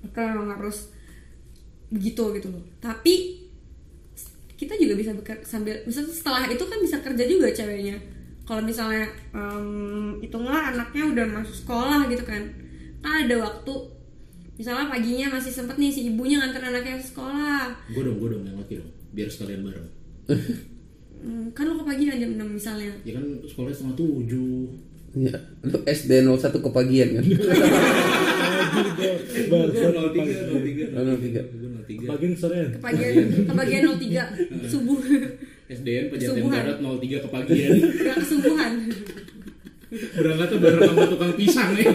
itu emang harus begitu gitu loh tapi kita juga bisa beker, sambil misalnya setelah itu kan bisa kerja juga ceweknya kalau misalnya em, hitunglah anaknya udah masuk sekolah gitu kan kan ada waktu misalnya paginya masih sempet nih si ibunya nganter anaknya ke sekolah gue dong gue dong yang laki dong biar sekalian bareng Hmm, kan lo ke pagi jam 6 misalnya ya kan sekolahnya setengah tujuh ya lu SD 01 kepagian kan Bangsat. nol tiga nol tiga nol tiga. gue nol tiga Kepagian sorean. kepagian kepagian 03 subuh SDN Pejaten Kesubuhan. Barat nol tiga kepagian udah kesubuhan berangkatnya bareng sama tukang pisang nih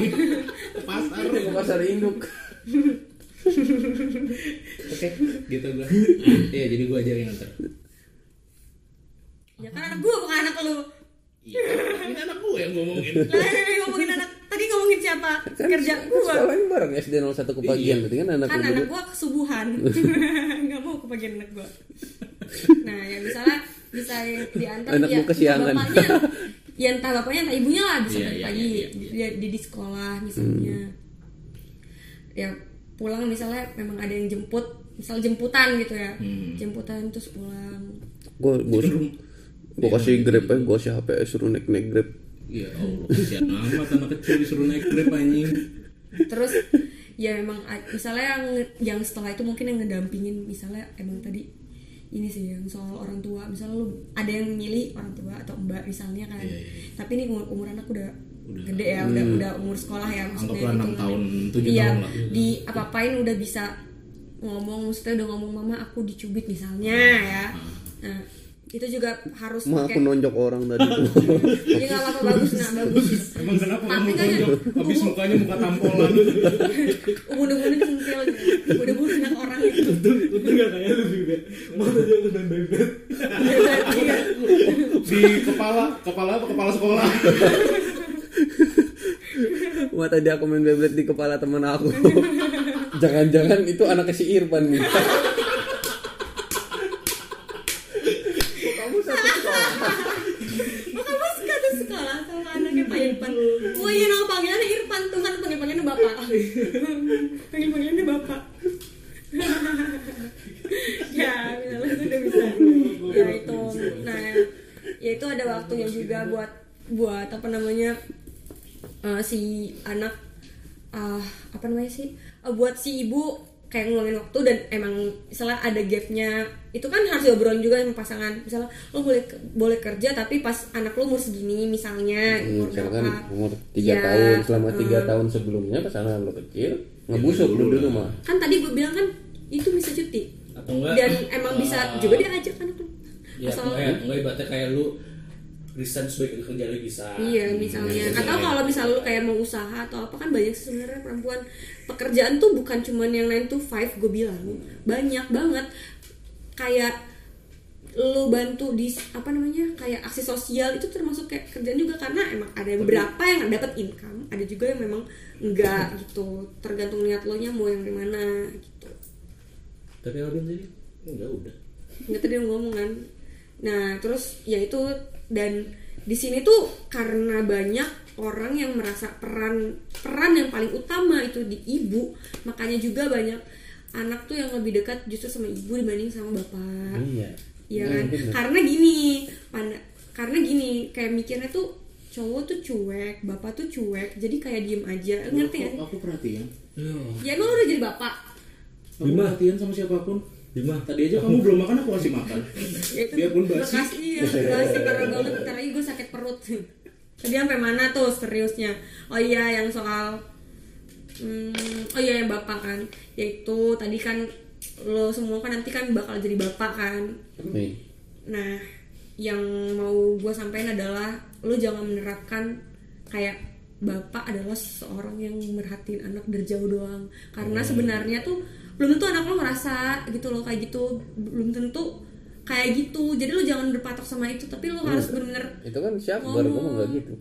ke pasar ke pasar induk oke gitu gue iya jadi gue aja yang nganter ya kan anak gua bukan anak lu iya ini anak gue yang ngomongin lah tadi ngomongin anak tadi ngomongin siapa kan kerja kan gua sekolahnya bareng SD 01 kepagian berarti kan anak kan lu anak dulu. gua kesubuhan nggak mau kebagian anak gua nah ya misalnya bisa diantar Anak ya, gua kesiangan. bapaknya ya entah bapaknya entah ibunya lah bisa Iya, balik iya, lagi iya, iya, Dia, dia di sekolah misalnya Hmm. ya pulang misalnya memang ada yang jemput misal jemputan gitu ya Hmm. jemputan terus pulang gue gue gue kasih grab aja gue kasih hp aja, suruh naik naik grab Iya, Ya Allah, kesian amat anak kecil disuruh naik grab anjing. terus ya memang a- misalnya yang yang setelah itu mungkin yang ngedampingin misalnya emang tadi ini sih yang soal orang tua misalnya lu ada yang milih orang tua atau mbak misalnya kan Iya, tapi ini umur, umur anak udah, gede ya udah udah umur sekolah ya maksudnya Anggaplah gitu. 6 tahun, 7 Iya, tahun lah. di apa-apain udah bisa ngomong maksudnya udah ngomong mama aku dicubit misalnya Ah. ya nah itu juga harus mah pakai aku nonjok orang tadi tuh jadi nggak apa-apa bagus nah bagus Emang kenapa kamu Tapi kan tonjok? Habis mukanya muka tampolan. ubun-ubun centil gitu. ubun-ubun anak orang itu Untung, untung gak kayak lu ya? juga. Mana dia udah bebet. Di kepala, kepala apa kepala sekolah? Wah tadi aku main Beyblade di kepala teman aku Jangan-jangan itu anaknya si Irfan nih Maka mas kata sekolah sama anaknya Pak Irfan Wah iya nama panggilannya Irfan tuh kan panggil-panggilannya Bapak Panggil-panggilannya Bapak Ya misalnya itu udah bisa Ya itu Nah ya itu ada waktunya juga buat Buat apa namanya eh, Si anak ah, Apa namanya sih Eh, Buat si ibu kayak ngeluangin waktu dan emang misalnya ada gapnya itu kan harus diobrolin juga sama pasangan misalnya lo boleh boleh kerja tapi pas anak lo umur segini misalnya Hmm, umur Misalkan berapa. umur 3 Ya, tahun Selama eh, 3 tahun sebelumnya pasangan lo kecil Ngebusuk lu dulu mah kan tadi gue bilang kan itu bisa cuti Atau enggak? dan emang bisa eh, juga dia ajak anak lo Ya, asal enggak, enggak ibaratnya kayak lu resign sebagai kerja lu bisa. iya misalnya atau kalau misalnya lo kayak mau usaha atau apa kan banyak sih sebenarnya perempuan pekerjaan tuh bukan cuman yang 9 to 5 gue bilang banyak banget kayak lo bantu di apa namanya kayak aksi sosial itu termasuk kayak kerjaan juga karena emang ada berapa yang dapat income ada juga yang memang enggak gitu tergantung niat lo nya mau yang gimana gitu Tapi yang lebih jadi enggak udah. nggak tadi yang ngomong kan nah terus ya itu dan di sini tuh karena banyak orang yang merasa peran peran yang paling utama itu di ibu makanya juga banyak anak tuh yang lebih dekat justru sama ibu dibanding sama bapak Iya Iya kan? Karena gini, panda- karena gini, kayak mikirnya tuh cowok tuh cuek, bapak tuh cuek, jadi kayak diem aja, Iya, ngerti nggak? Aku, aku perhatian. Iya. Ya emang udah jadi bapak, Aku perhatian sama siapapun. Bima, Tadi aja kamu belum makan aku kasih makan. ya itu Dia pun basi. makasih ya, basi parah banget, ntar lagi gue sakit perut. Tadi sampai mana tuh seriusnya? Oh iya yang soal, hmm, oh iya yang bapak kan, yaitu tadi kan lo semua kan nanti kan bakal jadi bapak kan, Nih Nah, yang mau gue sampaikan adalah lu jangan menerapkan kayak bapak adalah seseorang yang merhatiin anak dari jauh Hmm. doang. Karena sebenarnya tuh belum tentu anak lo merasa gitu loh kayak gitu, belum tentu kayak gitu. Jadi lu jangan berpatok sama itu, tapi lu harus bener-bener Itu kan siapa baru ngomong gak gitu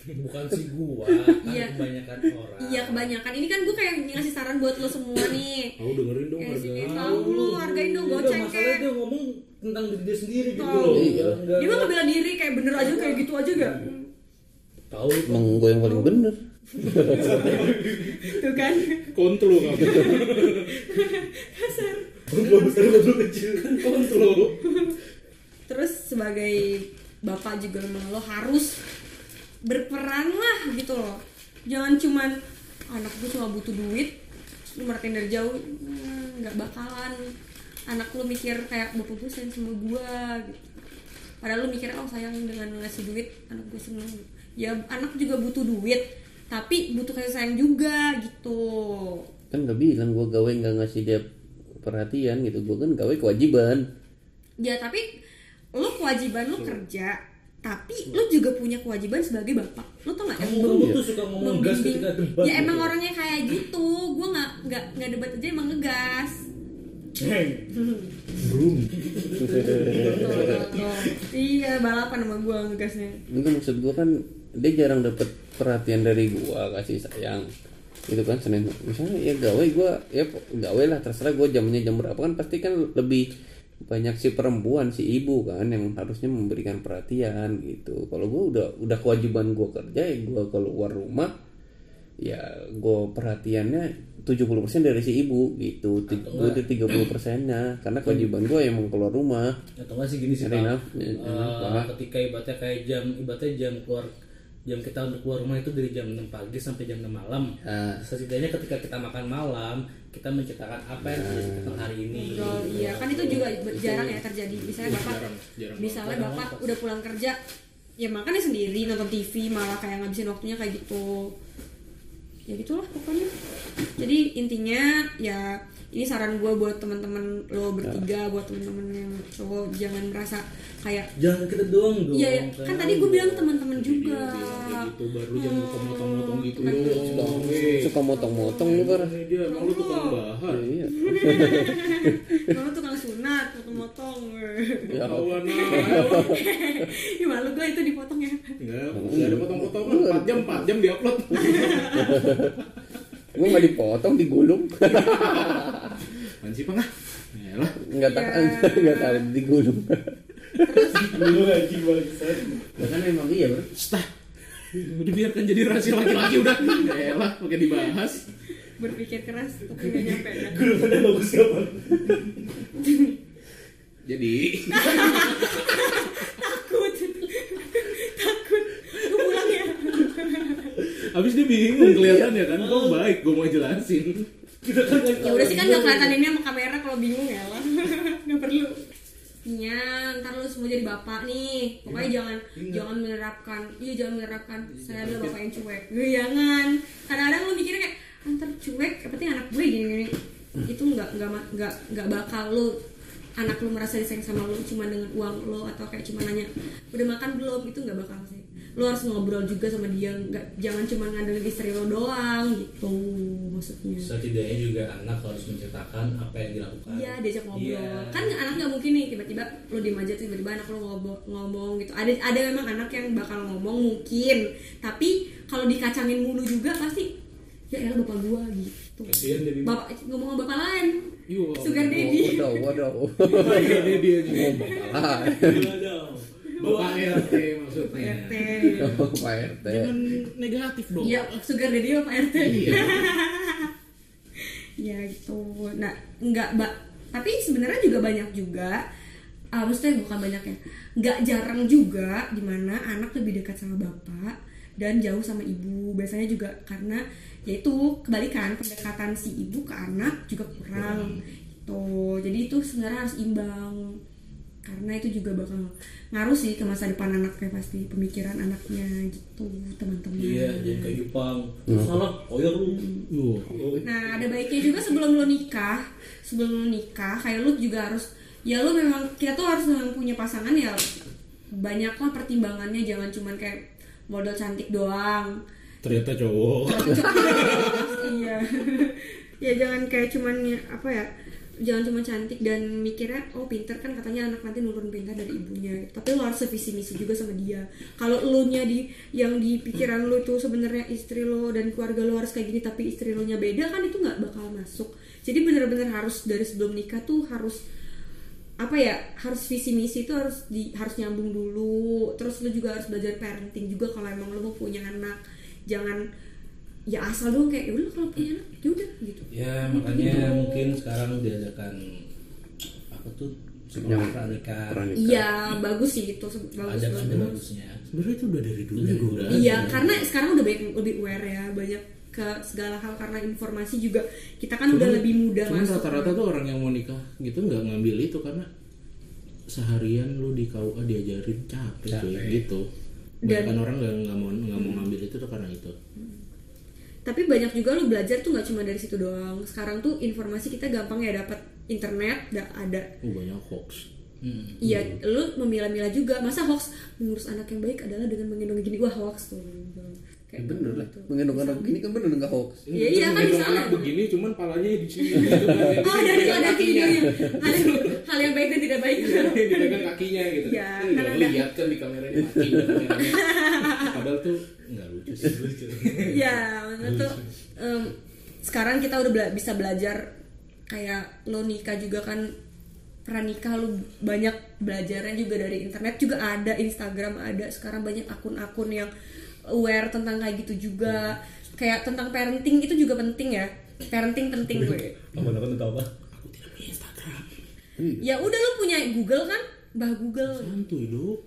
Bukan si gua, kan Iya. kebanyakan orang. Iya kebanyakan. Ini kan gue kayak ngasih saran buat lo semua nih. Aku dengerin dong Kayak sini harga. tahu Eh, lu hargain Iya, dong Enggak, goceng masalahnya kayak. dia ngomong tentang diri dia sendiri gitu Tahu. loh. Iya. Enggak. Hmm. Dia mah ngebela diri kayak bener aja kayak gitu aja gak? Tahu lu Emang gue yang paling bener Tuh kan. Kontrol kamu. Kasar. Belum besar belum kecil. Kontrol. terus sebagai bapak juga memang lo harus berperan lah gitu loh jangan cuman anak gue cuma butuh duit lu merhatiin dari jauh "Hmm, nggak bakalan anak lu mikir kayak bapak gue sayang sama gue gitu padahal lu mikir oh sayang dengan ngasih duit anak gue seneng ya anak juga butuh duit tapi butuh kasih sayang juga gitu Kan udah bilang gue gawe gak ngasih dia perhatian gitu Gue kan gawe kewajiban Ya tapi lu kewajiban Hmm. lu kerja, tapi lu juga punya kewajiban sebagai bapak. Lu tau gak? Kamu kamu Kan tuh suka ngomong gas Iya. membimbing. ketika debat. Ya emang gitu. orangnya kayak gitu. Gua nggak nggak nggak debat aja emang ngegas. Heng. Tuh, tuh, tuh. iya balapan sama gua ngegasnya. Enggak maksud gue kan dia jarang dapet perhatian dari gua kasih sayang itu kan senin misalnya ya gawe gua ya po- gawe lah terserah gua jamnya jam berapa kan pasti kan lebih banyak si perempuan si ibu kan yang harusnya memberikan perhatian gitu kalau gue udah udah kewajiban gue kerja ya gue keluar rumah ya gue perhatiannya 70% dari si ibu gitu gue udah 30 persennya karena kewajiban gue emang keluar rumah atau nggak sih gini sih Pak. Ada enough, ya, Eh, enough, Pak. ketika ibaratnya kayak jam ibaratnya jam keluar jam kita untuk keluar rumah itu dari jam 6 pagi sampai jam 6 malam Ya. Ah. setidaknya ketika kita makan malam kita menceritakan apa yang terjadi tentang hari ini ngobrol iya kan itu juga jarang ya terjadi Iya, misalnya bapak jarang misalnya bapak udah pulang kerja ya makannya sendiri nonton TV malah kayak ngabisin waktunya kayak gitu ya gitulah pokoknya jadi intinya ya ini saran gue buat teman-teman lo bertiga Ya. buat teman-teman yang cowok jangan merasa kayak jangan kita doang dong Iya, ya, kan tadi gue gitu. bilang teman-teman juga. Hmm. itu gitu, baru jangan motong-motong gitu dong suka motong-motong lu kan ini dia emang lu tukang bahar iya Mama tukang sunat, motong-motong. Ya. kawan Ih, malu gue itu dipotong ya. Enggak, enggak ada potong-potongan 4 jam, 4 jam diupload gue nggak dipotong digulung Apaan sih, Bang? ah? Yalah nggak tahan Iya. nggak tahan digulung dulu lagi bangsat kan emang iya bro Stah Udah biarkan jadi rahasia laki-laki udah Yalah, pakai dibahas Berpikir keras tapi gak nyampe. guru pada bagus siapa Jadi Takut. Takut. Gue pulang ya. Abis dia bingung kelihatan ya kan Kok baik, gue mau jelasin kita kan nggak- Ya udah sih kan gak kelihatan ini sama kamera kalau bingung ya lah. Gak perlu. Iya, ntar lu semua jadi bapak nih. Pokoknya jangan jangan menerapkan, iya jangan menerapkan. Saya adalah bapak yang cuek. Gue jangan. Kadang-kadang lu mikirnya kayak antar cuek, yang penting anak gue gini-gini. Itu nggak nggak ma- nggak nggak bakal lu anak lu merasa disayang sama lu cuma dengan uang lu atau kayak cuma nanya udah makan belum itu nggak bakal sih lu harus ngobrol juga sama dia nggak jangan cuma ngandelin istri lo doang gitu maksudnya setidaknya juga anak harus menceritakan apa yang dilakukan Iya diajak ngobrol. Iya. Kan anak nggak mungkin nih tiba-tiba lu diem aja tiba-tiba anak lu ngomong, ngomong gitu. Ada ada memang anak yang bakal ngomong mungkin, tapi kalau dikacangin mulu juga pasti ya elah bapak gua gitu. Kasihan dia, Bim. Oh, Bapak ngomong sama bapak lain. Yo, Sugar daddy. Oh, waduh waduh Oh, dia dia juga ah Gila dong. Bapak RT maksudnya RT. Oh, pak rt Jangan negatif dong Iya, sugar daddy bapak RT. Iya. ya gitu nah nggak mbak tapi sebenarnya juga banyak juga ah, maksudnya bukan banyak ya nggak jarang juga dimana anak lebih dekat sama bapak dan jauh sama ibu biasanya juga karena yaitu kebalikan pendekatan si ibu ke anak juga Iya. kurang gitu jadi itu sebenarnya harus imbang karena itu juga bakal ngaruh sih ke masa depan anaknya pasti pemikiran anaknya gitu teman-teman iya jadi kayak Jepang Iya. salah koyor lu Yo, Nah, ada baiknya juga sebelum lo nikah, sebelum lo nikah, kayak lo juga harus ya lo memang kita tuh harus memang punya pasangan ya banyaklah pertimbangannya jangan cuman kayak model cantik doang. Ternyata cowok iya. ya jangan kayak cuman ya, apa ya? Jangan cuma cantik dan mikirnya oh pinter kan katanya anak nanti nurun pintar dari ibunya. Tapi lo harus sevisi misi juga sama dia. Kalau lo nya di yang di pikiran lo itu sebenarnya istri lo dan keluarga lo harus kayak gini tapi istri lo nya beda kan itu nggak bakal masuk. Jadi bener-bener harus dari sebelum nikah tuh harus apa ya harus visi misi itu harus di harus nyambung dulu terus lu juga harus belajar parenting juga kalau emang lu mau punya anak jangan ya asal doang kayak udah kalau punya anak ya udah gitu ya makanya mungkin sekarang diadakan apa tuh sekolah pernikahan iya bagus sih itu se- bagus ada kan ada bagus bagusnya Sebenernya itu udah dari dulu Udah dulu. iya karena sekarang udah banyak lebih aware ya banyak ke segala hal karena informasi juga kita kan udah lebih mudah Cuman masuk rata-rata tuh orang yang mau nikah gitu nggak ngambil itu karena seharian lu di KUA diajarin capek, cuy gitu. Dan- Bahkan orang nggak nggak mau nggak mau ngambil itu tuh karena itu. tapi banyak juga lu belajar tuh nggak cuma dari situ doang sekarang tuh informasi kita gampang ya dapat internet da- ada Oh, banyak hoax. Hmm. Iya, lu memilah-milah juga. Masa hoax mengurus anak yang baik adalah dengan menggendong gini. Wah, hoax tuh. Kayak Ya bener lah gitu. menggendong anak begini kan bener nggak hoax Iya, iya kan Gendong misalnya. anak begini cuman palanya di sini gitu kan. Oh, ada ada ada videonya. Ada hal yang baik dan tidak baik. Iya, Dipegang kakinya gitu. Iya, Kan nggak karena- lihat kan di kameranya kaki di kameranya. Padahal tuh nggak lucu sih. Iya, maksudnya tuh iya, em, sekarang kita udah bela- bisa belajar kayak lo nikah juga kan pranikah lu banyak belajarnya juga dari internet juga ada Instagram ada sekarang banyak akun-akun yang aware tentang kayak gitu juga kayak tentang parenting itu juga penting ya parenting penting gue Apa apa tentang apa? ya udah lu punya Google kan bah Google santuy dong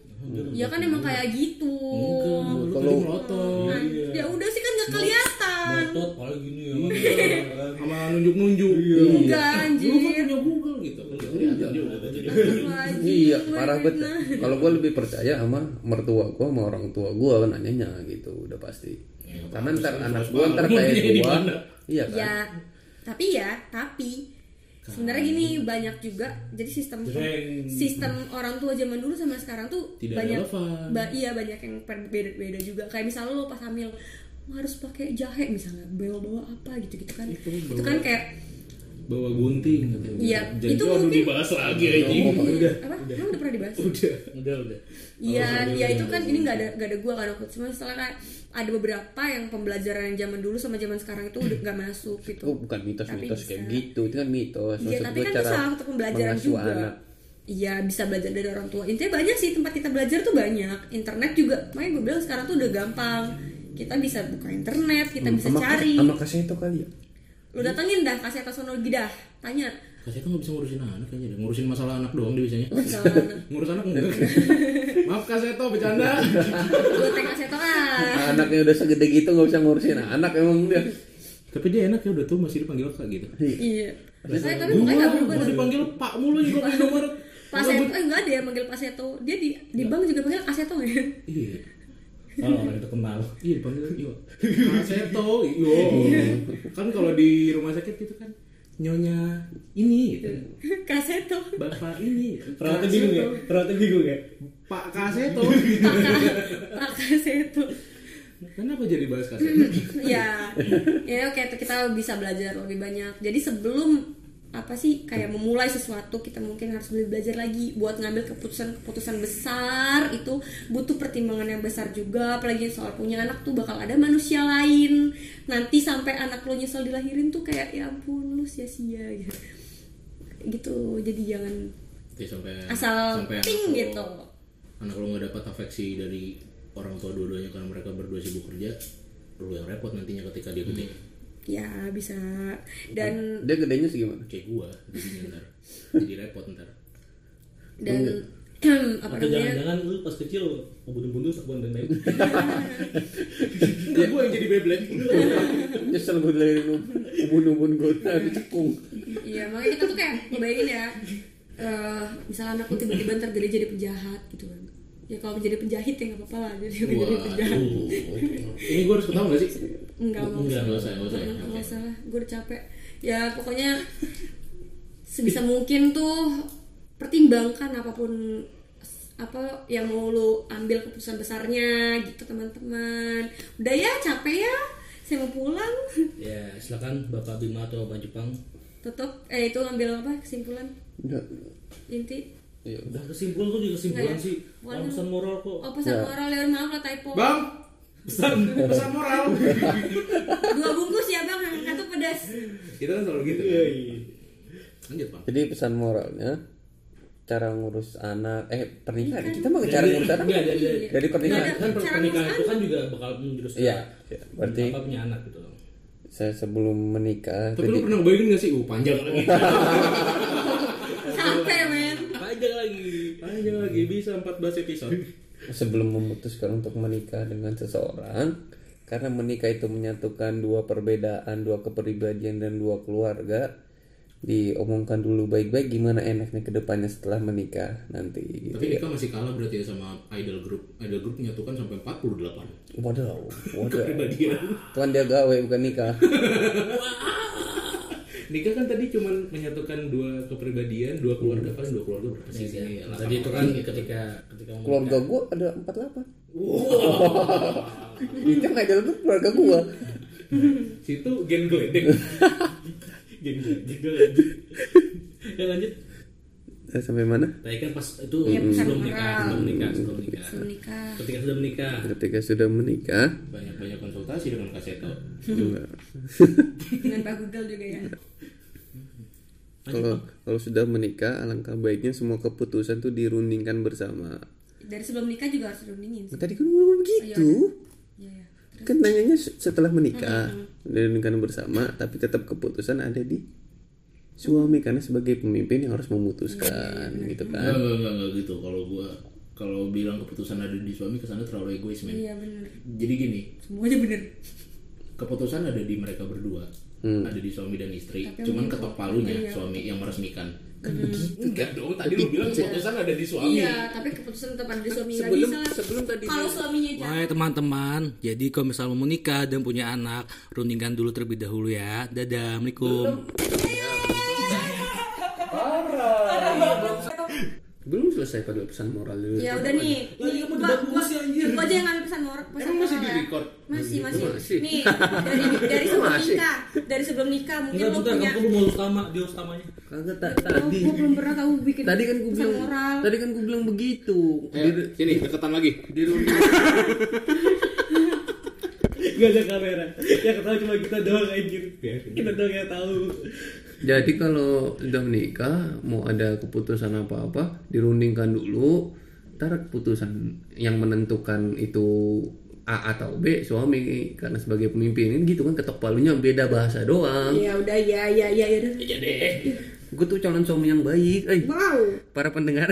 ya kan emang kayak gitu Lu tadi Kalau- melotot Nah, ya udah sih kan gak kelihatan Otot paling gini ya. sama nunjuk-nunjuk enggak Iya. Lu Iya. kan anjir punya Google gitu kan nggak kelihatan juga. Wajib, Nah, Iya, gue parah banget. fitnah. Kalau gue lebih percaya sama mertua gue sama orang tua gue nanyanya gitu, udah pasti. Karena ntar anak gue ntar kayak Nanyanya di gue, mana? iya kan? ya tapi ya tapi sebenarnya gini banyak juga jadi sistem Jreng. sistem orang tua zaman dulu sama sekarang tuh Tidak banyak relevan. ba- iya banyak yang beda beda juga kayak misalnya lo pas hamil lo harus pakai jahe misalnya bawa bawa apa gitu gitu kan itu, Itu bawa- kan kayak bawa gunting katanya Iya, Jadi, itu aduh, mungkin- dibahas lagi anjing apa emang udah pernah dibahas udah Udah udah. Iya, ya itu kan ini nggak ada nggak ada gua kan aku cuma misalnya kayak ada beberapa yang pembelajaran yang zaman dulu sama zaman sekarang itu udah nggak masuk gitu. Oh, bukan mitos-mitos Tapi kayak bisa. gitu, itu kan mitos. Iya, Maksud tapi kan gue itu cara salah satu pembelajaran mengasuh juga. anak. Iya, bisa belajar dari orang tua. Intinya banyak sih tempat kita belajar tuh banyak. Internet juga, makanya gue bilang sekarang tuh udah gampang. Kita bisa buka internet, kita bisa Hmm, Sama- cari. Sama kasih itu kali ya. Lu datengin dah kasih atas sonologi dah, tanya. kasih kan nggak bisa ngurusin anak kayaknya deh. ngurusin masalah anak doang dia biasanya ngurus anak enggak maaf kak Seto bercanda gue tag kasih atas ah. Anaknya udah segede gitu nggak bisa ngurusin anak emang dia. tapi dia enak ya udah tuh masih dipanggil kak gitu Iya. Saya tapi Gua mukanya nggak berubah. gua tuh. dipanggil Pak mulu juga ke Indomaret. Pak Iya, Seto, eh enggak ada yang manggil Pak Seto Dia di, di bank juga manggil Kak Seto ya Iya. Kalau orang itu kenal. Iya dipanggil yo. Pak Seto, Nah, yo. Kan kalau di rumah sakit gitu kan nyonya ini gitu. Kak Seto Bapak ini. Kak Ternyata bingung ya. Seto. Ternyata bingung ya. Pak Kaseto. Pak Kak- Pak Kak Seto Kenapa jadi bahas Kaseto? Ya Ya oke kita bisa belajar lebih banyak Jadi sebelum apa sih kayak memulai sesuatu kita mungkin harus lebih belajar lagi buat ngambil keputusan keputusan besar itu butuh pertimbangan yang besar juga apalagi soal punya anak tuh bakal ada manusia lain nanti sampai anak lo nyesel dilahirin tuh kayak ya ampun lu sia-sia gitu gitu jadi jangan Ya, sampai Asal ting lo- gitu. Anak lo nggak dapat afeksi dari orang tua dua-duanya karena mereka berdua sibuk kerja, lo yang repot nantinya ketika dia gede. ya bisa dan Dia gedenya segimana? Kayak gua jadinya ntar. Jadi repot ntar. dan Hmm, apa Atau namanya jangan-jangan lu pas kecil mau bunuh-bunuh sebuah dan lain. Enggak, gua yang jadi Beyblade. Nyesel gue dari ubun-ubun gue dicekung. iya makanya kita tuh kayak bayangin ya eh misalnya anakku tiba-tiba ntar gede jadi penjahat gitu kan ya kalau jadi penjahit ya nggak apa-apa lah jadi gede jadi penjahat Waduh. Ini gua harus ketahuan nggak sih? enggak mau Enggak, nggak usah, nggak usah. ya. Oke. Iya, nggak salah gue udah capek ya pokoknya sebisa mungkin tuh pertimbangkan apapun apa yang mau lo ambil keputusan besarnya gitu teman-teman udah ya capek ya saya mau pulang Ya, silakan Bapak Bima atau Bapak Jepang. tutup eh itu ngambil apa kesimpulan Enggak. inti Ya udah. Udah kesimpulan kok juga kesimpulan Nggak ya? sih. Walau- Orang pesan moral kok. oh pesan moral ya maaf lah typo Bang, pesan pesan moral. dua bungkus ya bang yang satu pedas Kita kan selalu gitu. Lanjut, Bang. Jadi pesan moralnya cara ngurus anak eh pernikahan kita mah cara Dari- ngurus anak Iya, dari- dari- dari pernikahan Nggak kan per- Cara pernikahan ngurus itu kan juga bakal menjurus Iya, iya. Berarti- apa punya anak gitu loh. saya sebelum menikah Tapi lu jadi pernah bayangin gak sih? Uh, panjang lagi. capek men Panjang lagi. panjang lagi bisa 14 episode. sebelum memutuskan untuk menikah dengan seseorang karena menikah itu menyatukan dua perbedaan dua kepribadian dan dua keluarga diomongkan dulu baik-baik gimana enaknya kedepannya setelah menikah Tapi nanti gitu ya Dika masih kalah berarti ya sama idol group. Idol group menyatukan sampai 48. waduh waduh Kepribadian. tuan dia gawe bukan nikah Dika kan tadi cuman menyatukan dua kepribadian, dua keluarga paling dua keluarga berapa sih? Iya, Tadi itu kan ketika ketika keluarga gua ada 48 itu kayak dalam keluarga gua Situ gen gledek. gini gitu lagi. Ya lanjut. Eh, sampai mana Tadi kan pas itu Iya, pesan sebelum nikah, moral. sebelum nikah, sebelum nikah. menikah Ketika sudah menikah, ketika sudah menikah Banyak-banyak konsultasi dengan Kak Seto. enggak. dengan pak google juga ya kalau kalau sudah menikah alangkah baiknya semua keputusan tuh dirundingkan bersama dari sebelum nikah juga harus dirundingin sih. tadi kan ngomong begitu Iya, iya. kan nanyanya se- setelah menikah dirundingkan bersama tapi tetap keputusan ada di suami karena sebagai pemimpin yang harus memutuskan gitu Enggak, kan enggak, enggak, enggak gitu. Kalau gua kalau bilang keputusan ada di suami kesannya terlalu egois, men. Iya bener. Jadi gini, Semuanya bener. keputusan ada di mereka berdua. Ada di suami dan istri. Cuman ketok palunya suami yang meresmikan. Kan begitu. Enggak dong, tadi lu bilang keputusan ada di suami. Iya, tapi keputusan tetap ada di suami nggak bisa. sebelum tadi Kalau suaminya jahat, Wah teman-teman, jadi kalau misal mau menikah dan punya anak, rundingkan dulu terlebih dahulu ya. Dadah, assalamualaikum. belum selesai pada pesan moral dulu ya udah nih. Lagi kamu debat Gua aja yang ngambil pesan moral. Pesan Emang masih moral ya. di-record? Masih, masih. Masih. Nih, dari dari sebelum Masih. nikah, dari sebelum nikah mungkin Enggak lo juga, punya kamu mau utama, dia utamanya. Kagak ta- Oh, tadi. gua belum pernah tahu bikin Tadi kan gue pesan bilang, moral. tadi kan gue bilang begitu. Di- sini deketan lagi Gak ada kamera. Yang ketawa cuma kita doang anjir. Kita doang yang tahu. Jadi kalau udah menikah mau ada keputusan apa-apa dirundingkan dulu. Ntar keputusan yang menentukan itu A atau B suami karena sebagai pemimpin ini gitu kan ketok palunya beda bahasa doang. Ya udah, ya ya ya ya. udah. Gue tuh calon suami yang baik. Eh, Wow. para pendengar.